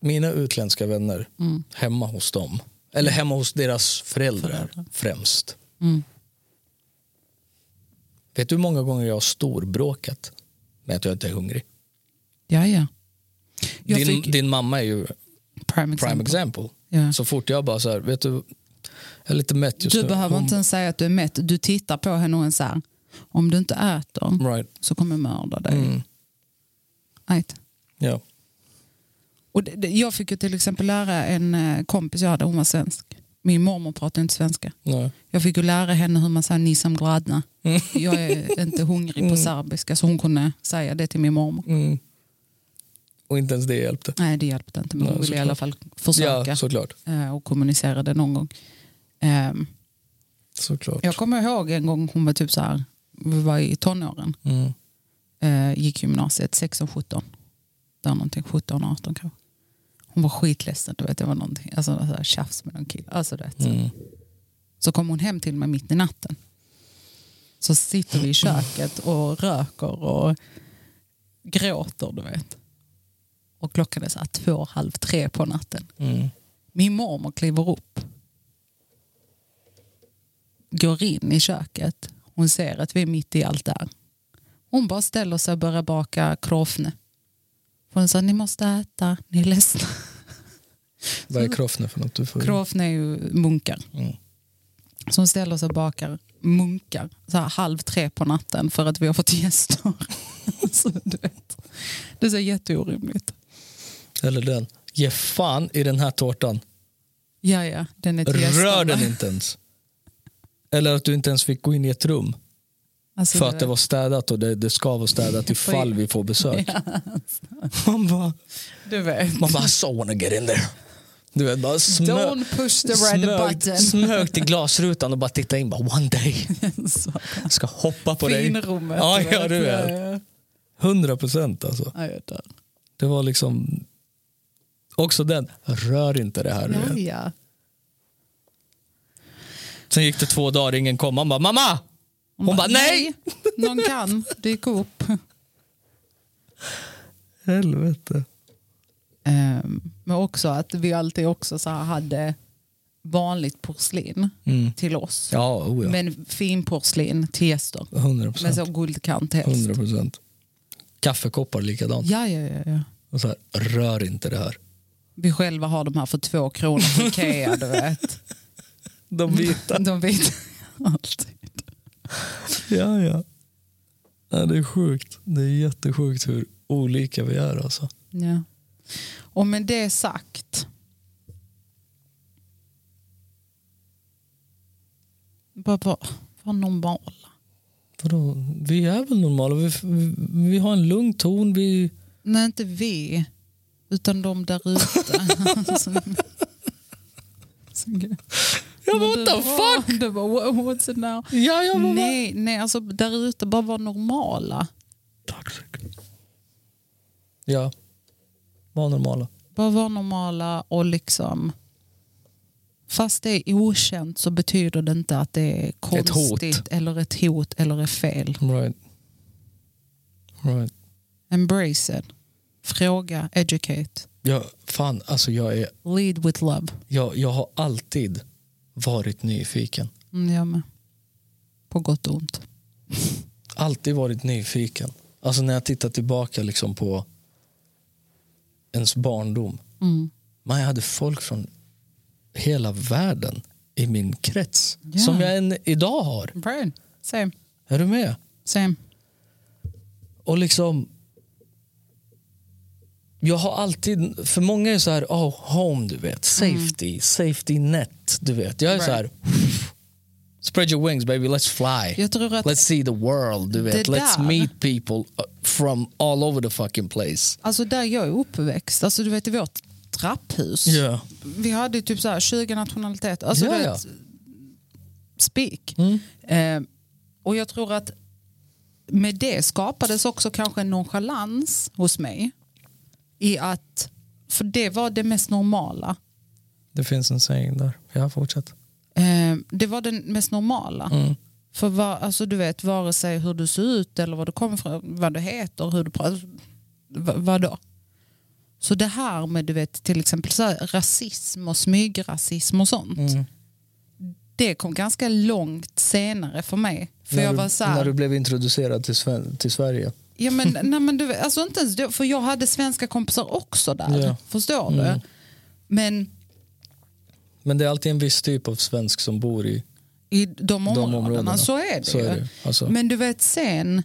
S2: mina utländska vänner
S1: Mm.
S2: hemma hos dem, eller hemma hos deras föräldrar, främst.
S1: Mm.
S2: Vet du hur många gånger jag har storbråkat med att jag inte är hungrig?
S1: Ja, ja. Jag
S2: Din,
S1: fick
S2: din mamma är ju
S1: prime example.
S2: prime example.
S1: Ja.
S2: Så fort jag bara så här, vet du, jag är lite mätt just
S1: Du
S2: nu.
S1: behöver
S2: Hon-
S1: inte ens säga att du är mätt. Du tittar på henne och är så här, om du inte äter
S2: Right.
S1: så kommer jag mörda dig.
S2: Mm.
S1: Right.
S2: Ja.
S1: Och det, det, jag fick ju till exempel lära en eh, kompis jag hade, hon var svensk. Min mormor pratade inte svenska.
S2: Nej.
S1: Jag fick ju lära henne hur man säger ni som gladna.
S2: Mm.
S1: Jag är inte hungrig på serbiska så hon kunde säga det till min mormor.
S2: Mm. Och inte ens det hjälpte.
S1: Nej det hjälpte inte men hon
S2: Nej,
S1: ville i alla fall försöka
S2: Ja, såklart.
S1: eh, och kommunicera det någon gång. Ehm,
S2: såklart.
S1: Jag kommer ihåg en gång hon var typ så här, vi var i tonåren. Eh, gick gymnasiet 16-17. Där någonting, 17-18 kanske. Hon var skitledsen, du vet, det var någonting, alltså så här, tjafs med någon kille. Alltså, du vet, så. så kom hon hem till mig mitt i natten. Så sitter vi i köket och röker och gråter, du vet. Och klockan är så här två, halv tre på natten. Min mormor kliver upp går in i köket. Hon ser att vi är mitt i allt det här. Hon bara ställer sig och börjar baka krofne. För Hon sa ni måste äta, ni är ledsna.
S2: Mm. Vad
S1: Mm.
S2: är kroff nu för något? Du får...
S1: Krofne är ju munkar.
S2: Mm.
S1: Så hon ställer sig och bakar munkar så här halv tre på natten för att vi har fått gäster. så du vet. Det är så jätteorimligt.
S2: Eller den. Ge fan i den här tårtan.
S1: Ja, ja, den är till gästerna.
S2: Rör den inte ens. Eller att du inte ens fick gå in i ett rum.
S1: Alltså,
S2: För
S1: du
S2: att det
S1: vet.
S2: var städat och det, det ska vara städat ifall vi får besök.
S1: alltså.
S2: Man bara,
S1: Du vet.
S2: man bara, I so wanna get in there. Du vet, bara smö,
S1: Don't push the red button.
S2: smög till glasrutan och bara titta in. Bara, One day. Jag ska hoppa på dig.
S1: Finrummet.
S2: Ja,
S1: du
S2: ja, du vet.
S1: Ja, ja.
S2: Hundra procent alltså.
S1: Ja, jag dör.
S2: Det var liksom också den, rör inte det här. du
S1: Ja,
S2: vet.
S1: ja.
S2: Sen gick det två dagar, ingen kom. Man bara, mamma! Hon bara, nej!
S1: Någon kan dyka upp.
S2: Helvete.
S1: Ehm, Men också att vi alltid också så här hade vanligt porslin till oss.
S2: Mm. Ja, oh ja.
S1: Men finporslin till gäster.
S2: 100
S1: Med
S2: procent.
S1: så guldkant helst.
S2: 100 procent. Kaffekoppar likadant.
S1: Ja, ja, ja, ja.
S2: Och så här, rör inte det här.
S1: Vi själva har de här för två kronor på Ikea, du vet.
S2: De vita.
S1: De vet alltid.
S2: ja, ja. ja. Det är sjukt. Det är jättesjukt hur olika vi är alltså.
S1: Ja. Och med det sagt. Bara, bara, var normala.
S2: Vadå? Vi är väl normala? Vi, vi, vi har en lugn ton. Vi...
S1: Nej, inte vi. Utan de där ute. alltså. Så gud.
S2: Ja,
S1: Men
S2: what
S1: du
S2: the
S1: var-
S2: fuck?
S1: Du bara, "Wha- what's it now?
S2: Ja, ja, vad var
S1: Nej, nej, alltså där ute, bara vara normala.
S2: Toxic. Ja. Var normala.
S1: Bara vara normala och liksom... Fast det är okänt så betyder det inte att det är
S2: Ett hot.
S1: konstigt eller ett hot eller är fel.
S2: Right. Right.
S1: Embrace it. Fråga, educate,
S2: Ja, fan, alltså jag, är,
S1: lead with love.
S2: jag, jag har alltid varit nyfiken.
S1: Mm, jag med. På gott och ont.
S2: Alltid varit nyfiken. Alltså när jag tittar tillbaka liksom på ens barndom. Man, jag hade folk från hela världen i min krets.
S1: Ja.
S2: Som jag än idag har.
S1: Brian, same.
S2: Är du med?
S1: Same.
S2: Och liksom... Jag har alltid... För många är så här, oh, home, du vet.
S1: Mm.
S2: Safety, safety net, du vet. Jag är så här... Spread your wings baby, let's fly.
S1: Jag tror att-
S2: let's see the world, du vet.
S1: Det
S2: Let's
S1: där-
S2: meet people uh, from all over the fucking place.
S1: Alltså där jag är uppväxt, alltså du vet i vårt trapphus.
S2: Ja.
S1: Vi hade ju typ så här 20 nationaliteter. Alltså
S2: Ja,
S1: du
S2: ja. Mm.
S1: vet, speak. Eh, och jag tror att med det skapades också kanske en nonchalans hos mig. I att, för det var det mest normala.
S2: Det finns en sägning där. Ja, fortsätt.
S1: Eh, det var den mest normala.
S2: Mm.
S1: För var, alltså, du vet, vare sig hur du ser ut eller var du kommer från, vad du heter, hur du pratar, v- vad då? Så det här med du vet, till exempel så här, rasism och smygrasism och sånt.
S2: Mm.
S1: Det kom ganska långt senare för mig. För
S2: när,
S1: jag var
S2: du,
S1: så här,
S2: när du blev introducerad till, Sven, till Sverige.
S1: Ja, men, nej, men du, vet, alltså inte ens då, för jag hade svenska kompisar också där.
S2: Ja. Mm.
S1: Förstår du? Men
S2: Men det är alltid en viss typ av svensk som bor i...
S1: i de områdena,
S2: områdena.
S1: så är det
S2: Så
S1: ju.
S2: är det, alltså.
S1: Men du vet sen,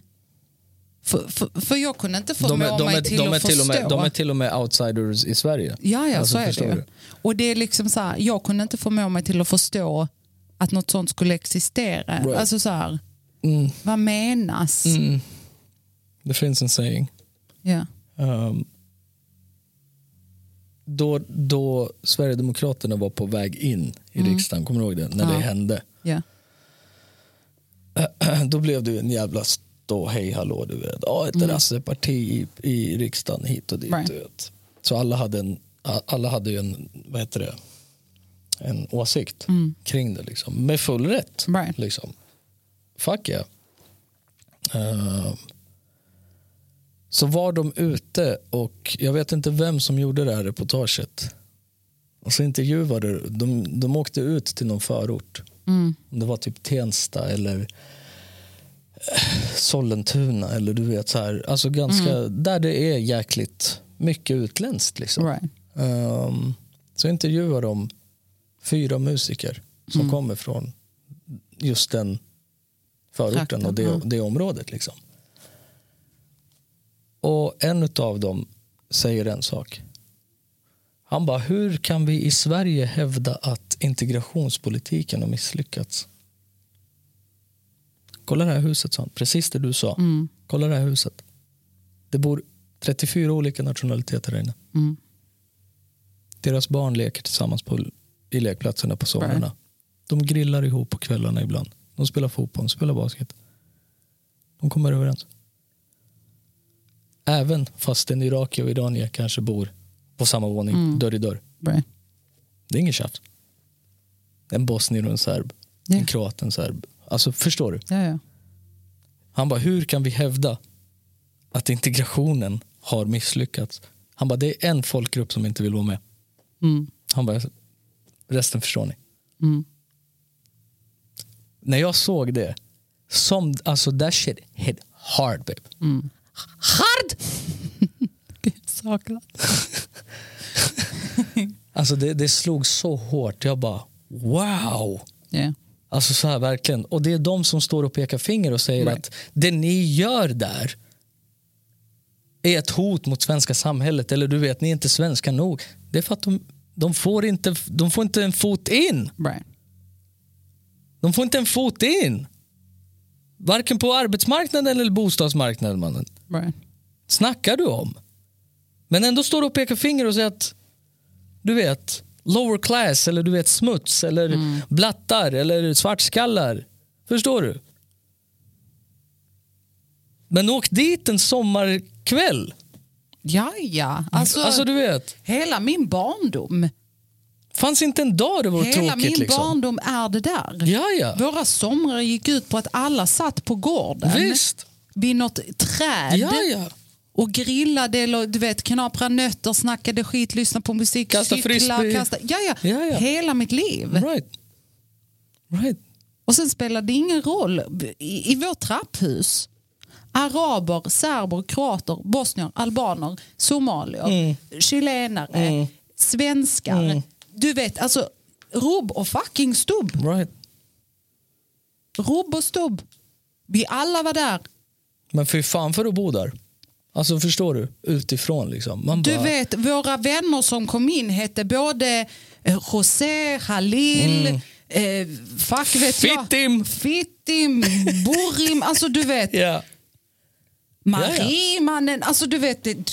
S1: för, för, för jag kunde inte förmå
S2: De är, de,
S1: mig
S2: är,
S1: till
S2: de, är
S1: att
S2: till och med,
S1: förstå.
S2: de är till och med outsiders i Sverige.
S1: Ja, ja,
S2: Alltså,
S1: så är
S2: förstår
S1: det ju.
S2: du?
S1: Och det är liksom så här, jag kunde inte förmå mig till att förstå att något sånt skulle existera.
S2: Right. Mm.
S1: Alltså så här, vad menas?
S2: Det finns en saying.
S1: Ja.
S2: Ehm, då, då Sverigedemokraterna var på väg in i riksdagen, kommer du ihåg det? När det
S1: Mm. Ja.
S2: hände.
S1: Ja.
S2: Då blev det ju en jävla stå hej hallå du vet. Ja, ett rasseparti i, i riksdagen hit och dit.
S1: Mm. Right.
S2: Du vet. Så alla hade, en, alla hade ju en, vad heter det, en åsikt kring det liksom. Med full rätt.
S1: Mm. Right.
S2: Liksom. Fuck yeah. Ehm, så var de ute och jag vet inte vem som gjorde det här reportaget. Och så intervjuade de, de åkte ut till någon förort. Om det var typ Tensta eller eh, Sollentuna eller du vet så här. Alltså ganska, där det är jäkligt mycket utländskt liksom.
S1: Right.
S2: Ehm, så intervjuar de fyra musiker som
S1: Mm.
S2: kommer från just den förorten
S1: Trakten,
S2: och det,
S1: ja.
S2: det området. Liksom. Och en av dem säger en sak. Han bara, hur kan vi i Sverige hävda att integrationspolitiken har misslyckats? Kolla det här huset, sa han. Precis det du sa.
S1: Mm.
S2: Kolla det här huset. Det bor 34 olika nationaliteter här inne. Deras barn leker tillsammans på, i lekplatserna på somrarna.
S1: Right.
S2: De grillar ihop på kvällarna ibland. De spelar fotboll, de spelar basket. De kommer överens. Även fast en irakier och iranier kanske bor på samma våning, dörr i dörr.
S1: Right.
S2: Det är ingen tjafs. En bosnier och en serb.
S1: Ja.
S2: En kroat och en serb. Alltså förstår du?
S1: Ja, ja.
S2: Han bara, hur kan vi hävda att integrationen har misslyckats? Han bara, det är en folkgrupp som inte vill vara med. Han bara, resten förstår ni. När jag såg det, som, alltså that shit hit hard babe. Hard!
S1: Gud, saknat.
S2: Alltså det, det slog så hårt, jag bara wow.
S1: Ja.
S2: Alltså så här verkligen. Och det är de som står och pekar finger och säger
S1: Right.
S2: att det ni gör där är ett hot mot svenska samhället. Eller du vet, ni är inte svenska nog. Det är för att de, de, får, inte, de får inte en fot in.
S1: Right.
S2: De får inte en fot in. Varken på arbetsmarknaden eller bostadsmarknaden. Mannen.
S1: Right.
S2: Snackar du om? Men ändå står du och pekar finger och säger att du vet lower class eller du vet smuts eller
S1: Mm.
S2: blattar eller svartskallar. Förstår du? Men åk dit en sommarkväll.
S1: Ja, ja. Alltså,
S2: Alltså du vet,
S1: Hela min barndom.
S2: fanns inte en dag det var
S1: Hela
S2: tråkigt
S1: min
S2: liksom.
S1: barndom är det där.
S2: Ja, ja.
S1: Våra somrar gick ut på att alla satt på gården
S2: Visst.
S1: vid något träd
S2: Ja, ja.
S1: och grillade eller du vet, knapra nötter, snackade skit, lyssnade på musik,
S2: Kasta
S1: cykla,
S2: frisbee.
S1: kasta. Ja, ja.
S2: Ja, Mm. ja.
S1: Hela mitt liv.
S2: Right. Right.
S1: Och sen spelade det ingen roll i, i vårt trapphus. Araber, serber, kroater, bosnier, albaner, somalier,
S2: Mm.
S1: chilenare, svenskar. Du vet, alltså rubb och fucking stubb.
S2: Right.
S1: Rubb och stubb. Vi alla var där.
S2: Men fy fan för att bo där. Alltså förstår du? Utifrån liksom. Man
S1: Du
S2: bara,
S1: vet, våra vänner som kom in hette både eh, José, Halil, eh, fuck vet
S2: Mm. Fittim.
S1: jag. Fittim! Borim, alltså du vet.
S2: Ja.
S1: Marie, mannen, alltså du vet. Det,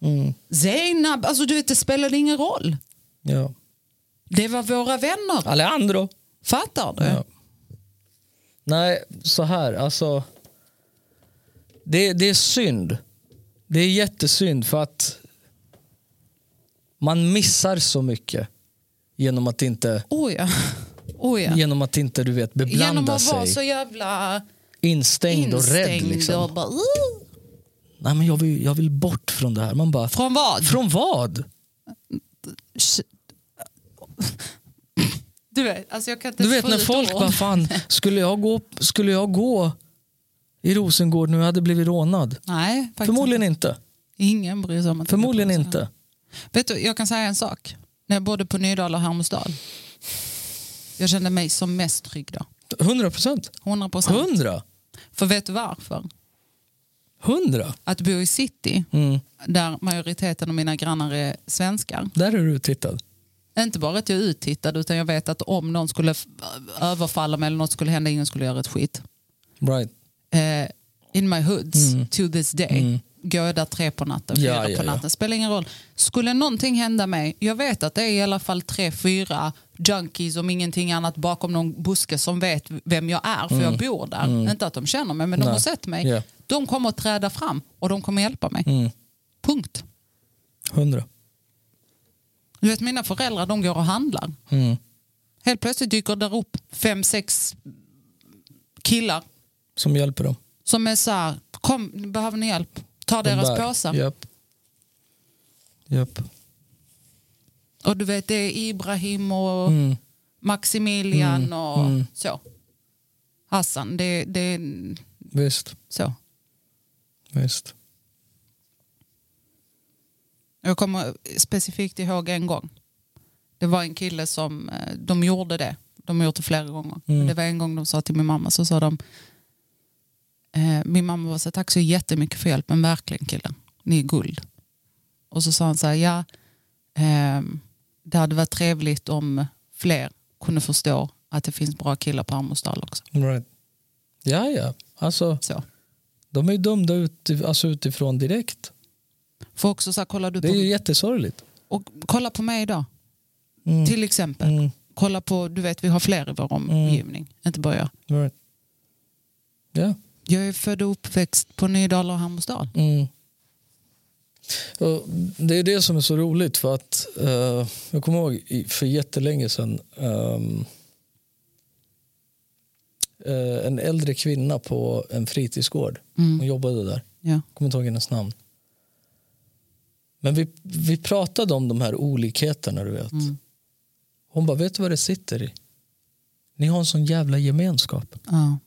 S2: Mm.
S1: Zeynab, alltså du vet det spelade ingen roll.
S2: ja.
S1: Det var våra vänner,
S2: Alejandro.
S1: fattar du?
S2: Ja. Nej, så här. Alltså, det, det är synd. Det är jättesynd för att man missar så mycket Genom att inte,
S1: Oh ja. Oh ja.
S2: genom att inte du vet, beblanda
S1: Genom att
S2: sig.
S1: vara så jävla
S2: instängd, och rädd.
S1: instängd och
S2: Liksom.
S1: bara... "Ugh."
S2: Nej, men jag, vill, jag vill bort från det här. Man bara,
S1: Från vad?
S2: från vad?
S1: Du vet, alltså jag kan inte
S2: Du vet
S1: få
S2: när
S1: ut
S2: folk
S1: ord.
S2: bara, fan, skulle jag gå, skulle jag gå i Rosengård nu? Jag hade blivit rånad.
S1: Nej, faktiskt
S2: Förmodligen inte.
S1: Ingen bryr sig om att
S2: Förmodligen inte.
S1: Vet du, jag kan säga en sak. När jag bodde på Nydala och Hermodsdal. Jag kände mig som mest trygg då.
S2: 100 procent.
S1: 100 procent.
S2: 100.
S1: För vet du varför?
S2: 100.
S1: Att bo i city,
S2: Mm.
S1: där majoriteten av mina grannar är svenskar.
S2: Där är du uttittad.
S1: Inte bara att jag är uttittad, utan jag vet att om någon skulle f- överfalla mig eller något skulle hända, ingen skulle göra ett skit.
S2: Right.
S1: eh, in my hoods to this day. Går jag där tre på natten, fyra
S2: Mm. Ja, ja,
S1: på
S2: ja.
S1: natten. Spelar ingen roll. Skulle någonting hända mig, jag vet att det är i alla fall tre, fyra junkies om ingenting annat bakom någon buske som vet vem jag är för jag bor där. Inte att de känner mig men de
S2: Mm. Nej.
S1: har sett mig.
S2: Ja. Mm.
S1: De kommer att träda fram och de kommer hjälpa mig. Punkt.
S2: 100.
S1: Du vet mina föräldrar de går och handlar.
S2: Mm.
S1: Helt plötsligt dyker där upp fem, sex killar
S2: Som hjälper dem.
S1: som är så här, kom, behöver ni hjälp? Ta
S2: De
S1: deras
S2: bär.
S1: påsar.
S2: Japp. Japp.
S1: Och du vet, det är Ibrahim och Maximilian och så. Hassan, det, det är
S2: Visst.
S1: så.
S2: Visst.
S1: Jag kommer specifikt ihåg en gång. Det var en kille som, eh, de gjorde det. De har gjort det flera gånger.
S2: Mm.
S1: Det var en gång de sa till min mamma, så sa de, eh, min mamma var så här, tack så jättemycket för hjälpen, verkligen killen. Ni är guld. Och så sa han så här, ja, ehm, det hade varit trevligt om fler kunde förstå att det finns bra killar på Hermodsdal också.
S2: Right. Ja, ja. Alltså,
S1: Så.
S2: de är ju dömda ut, alltså utifrån direkt.
S1: För också så här, kollar du
S2: Det är ju
S1: på,
S2: jättesorgligt.
S1: och kolla på mig idag. Till exempel.
S2: Mm.
S1: Kolla på, du vet vi har fler i vår omgivning, inte bara jag.
S2: Right. Ja.
S1: Jag är född och uppväxt på Nydala och Hermodsdal.
S2: Mm. Och det är det som är så roligt för att eh, jag kommer ihåg i- för jättelänge sedan ehm, eh, en äldre kvinna på en fritidsgård. Hon jobbade där.
S1: Ja.
S2: Jag kommer inte ihåg hennes namn. Men vi, vi pratade om de här olikheterna du vet. Hon bara, vet du vad det sitter i? Ni har en sån jävla gemenskap.
S1: Ja.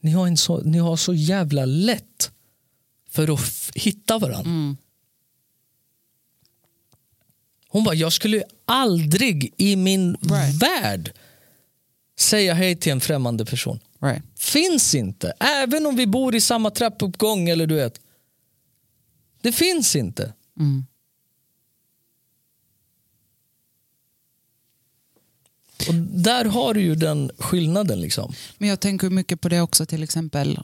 S2: Ni har, en så, ni har så jävla lätt för att f- hitta varandra.
S1: Mm.
S2: Hon bara, jag skulle ju aldrig i min
S1: Right.
S2: värld säga hej till en främmande person.
S1: Right.
S2: Finns inte. Även om vi bor i samma trappuppgång eller du vet. Det finns inte.
S1: Mm.
S2: Och där har du ju den skillnaden liksom.
S1: Men jag tänker mycket på det också till exempel,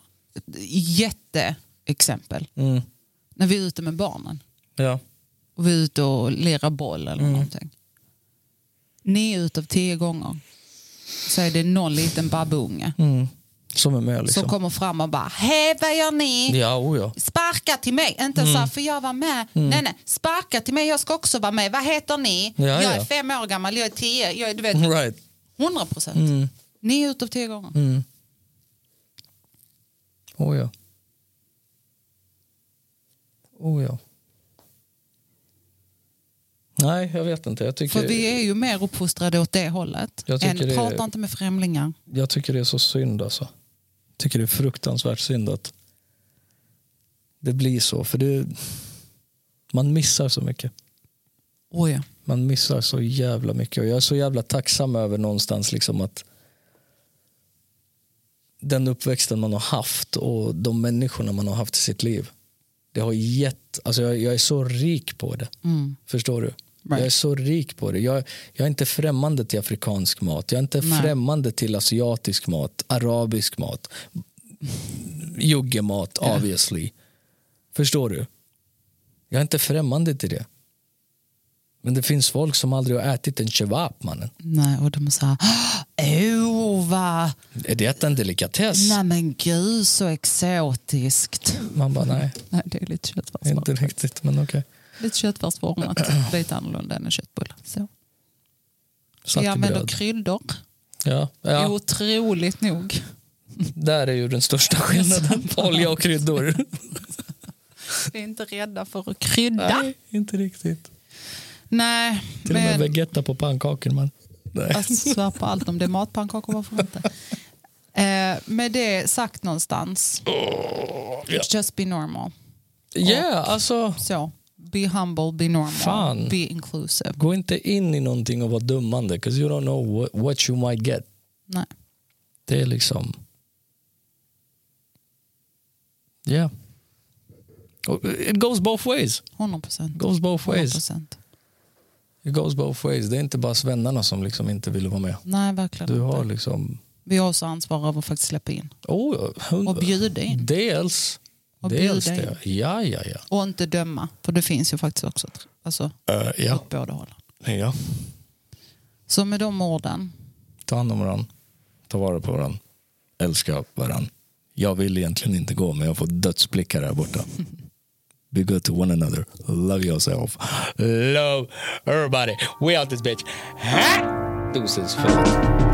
S1: jätteexempel,
S2: Mm.
S1: när vi är ute med barnen
S2: Ja.
S1: och vi är ute och lirar boll eller
S2: Mm.
S1: någonting. Nio utav tio gånger så är det någon liten babbunge
S2: Mm. Som är med liksom.
S1: som kommer fram och bara, hej vad gör ni?
S2: Ja, oh ja.
S1: Sparka till mig, inte så
S2: Mm.
S1: här, för jag var med. Nej, nej. Sparka till mig, jag ska också vara med. Vad heter ni?
S2: Ja,
S1: jag
S2: ja. Mm.
S1: är fem år gammal, jag är tio. Jag är, du vet,
S2: Right.
S1: 100 procent.
S2: Mm.
S1: Nio utav tio gånger.
S2: Oh ja. Oh ja. Nej, jag vet inte. Jag tycker,
S1: För vi är ju mer uppfostrade åt det hållet.
S2: Jag
S1: Än
S2: tycker det är-
S1: prata inte med främlingar.
S2: jag tycker det är så synd alltså. Jag tycker det är fruktansvärt synd att det blir så. För det, man missar så mycket.
S1: Oh, ja.
S2: Man missar så jävla mycket. Och jag är så jävla tacksam över någonstans liksom att den uppväxten man har haft och de människorna man har haft i sitt liv. Det har gett, alltså jag, jag är så rik på det. Förstår du? Jag är så rik på det. Jag, jag är inte främmande till afrikansk mat. Jag är inte främmande till asiatisk mat, arabisk mat, juggemat obviously. Förstår du? Jag är inte främmande till det. Men det finns folk som aldrig har ätit en kebab, mannen.
S1: Nej, och de sa, åh oh, vad,
S2: Är det en delikatess?
S1: nej men gud så exotiskt.
S2: Man bara, nej,
S1: Nej, det är lite köttfärsformat.
S2: inte riktigt, men okej.
S1: Lite köttfärsformat, lite annorlunda än en köttbulle. Så.
S2: Satt
S1: Vi
S2: i
S1: använder
S2: bröd.
S1: kryddor.
S2: Ja, ja.
S1: Otroligt nog.
S2: Där är ju den största skillnaden på olja och kryddor.
S1: Vi är inte rädda för att krydda. Nej,
S2: Nej, inte riktigt. Till och med
S1: men Alltså,
S2: Vegeta på pannkakor. Man. Nej.
S1: jag svär på allt. Om det är matpannkakor, varför inte? Eh, med det sagt någonstans,
S2: Oh, ja.
S1: just be normal.
S2: Ja, alltså.
S1: Så, be humble, be normal,
S2: Fan.
S1: be inclusive.
S2: Gå inte in i någonting och var dummande. Because you don't know what, what you might get.
S1: Nej.
S2: Det är liksom... Ja. Och It goes both ways.
S1: 100 procent.
S2: Goes both ways.
S1: 100%.
S2: It goes both ways. Det är inte bara svennarna som liksom inte vill vara med.
S1: Nej, verkligen
S2: Du
S1: inte.
S2: har liksom...
S1: Vi har också ansvar över att faktiskt släppa in.
S2: Oh, hund-
S1: Och bjuda
S2: Mm.
S1: in.
S2: Dels.
S1: Och
S2: dels
S1: bjuda
S2: det. Ja, ja, ja.
S1: Och inte döma, för det finns ju faktiskt också alltså,
S2: Eh, ja.
S1: åt båda hållen.
S2: ja.
S1: Så med de orden,
S2: Ta hand om varandra. Ta vara på varandra. Älska varandra. Jag vill egentligen inte gå, men jag får dödsblickar här borta. Be good to one another. Love yourself. Love everybody. We out this bitch. Ha! Doses. Förlåt.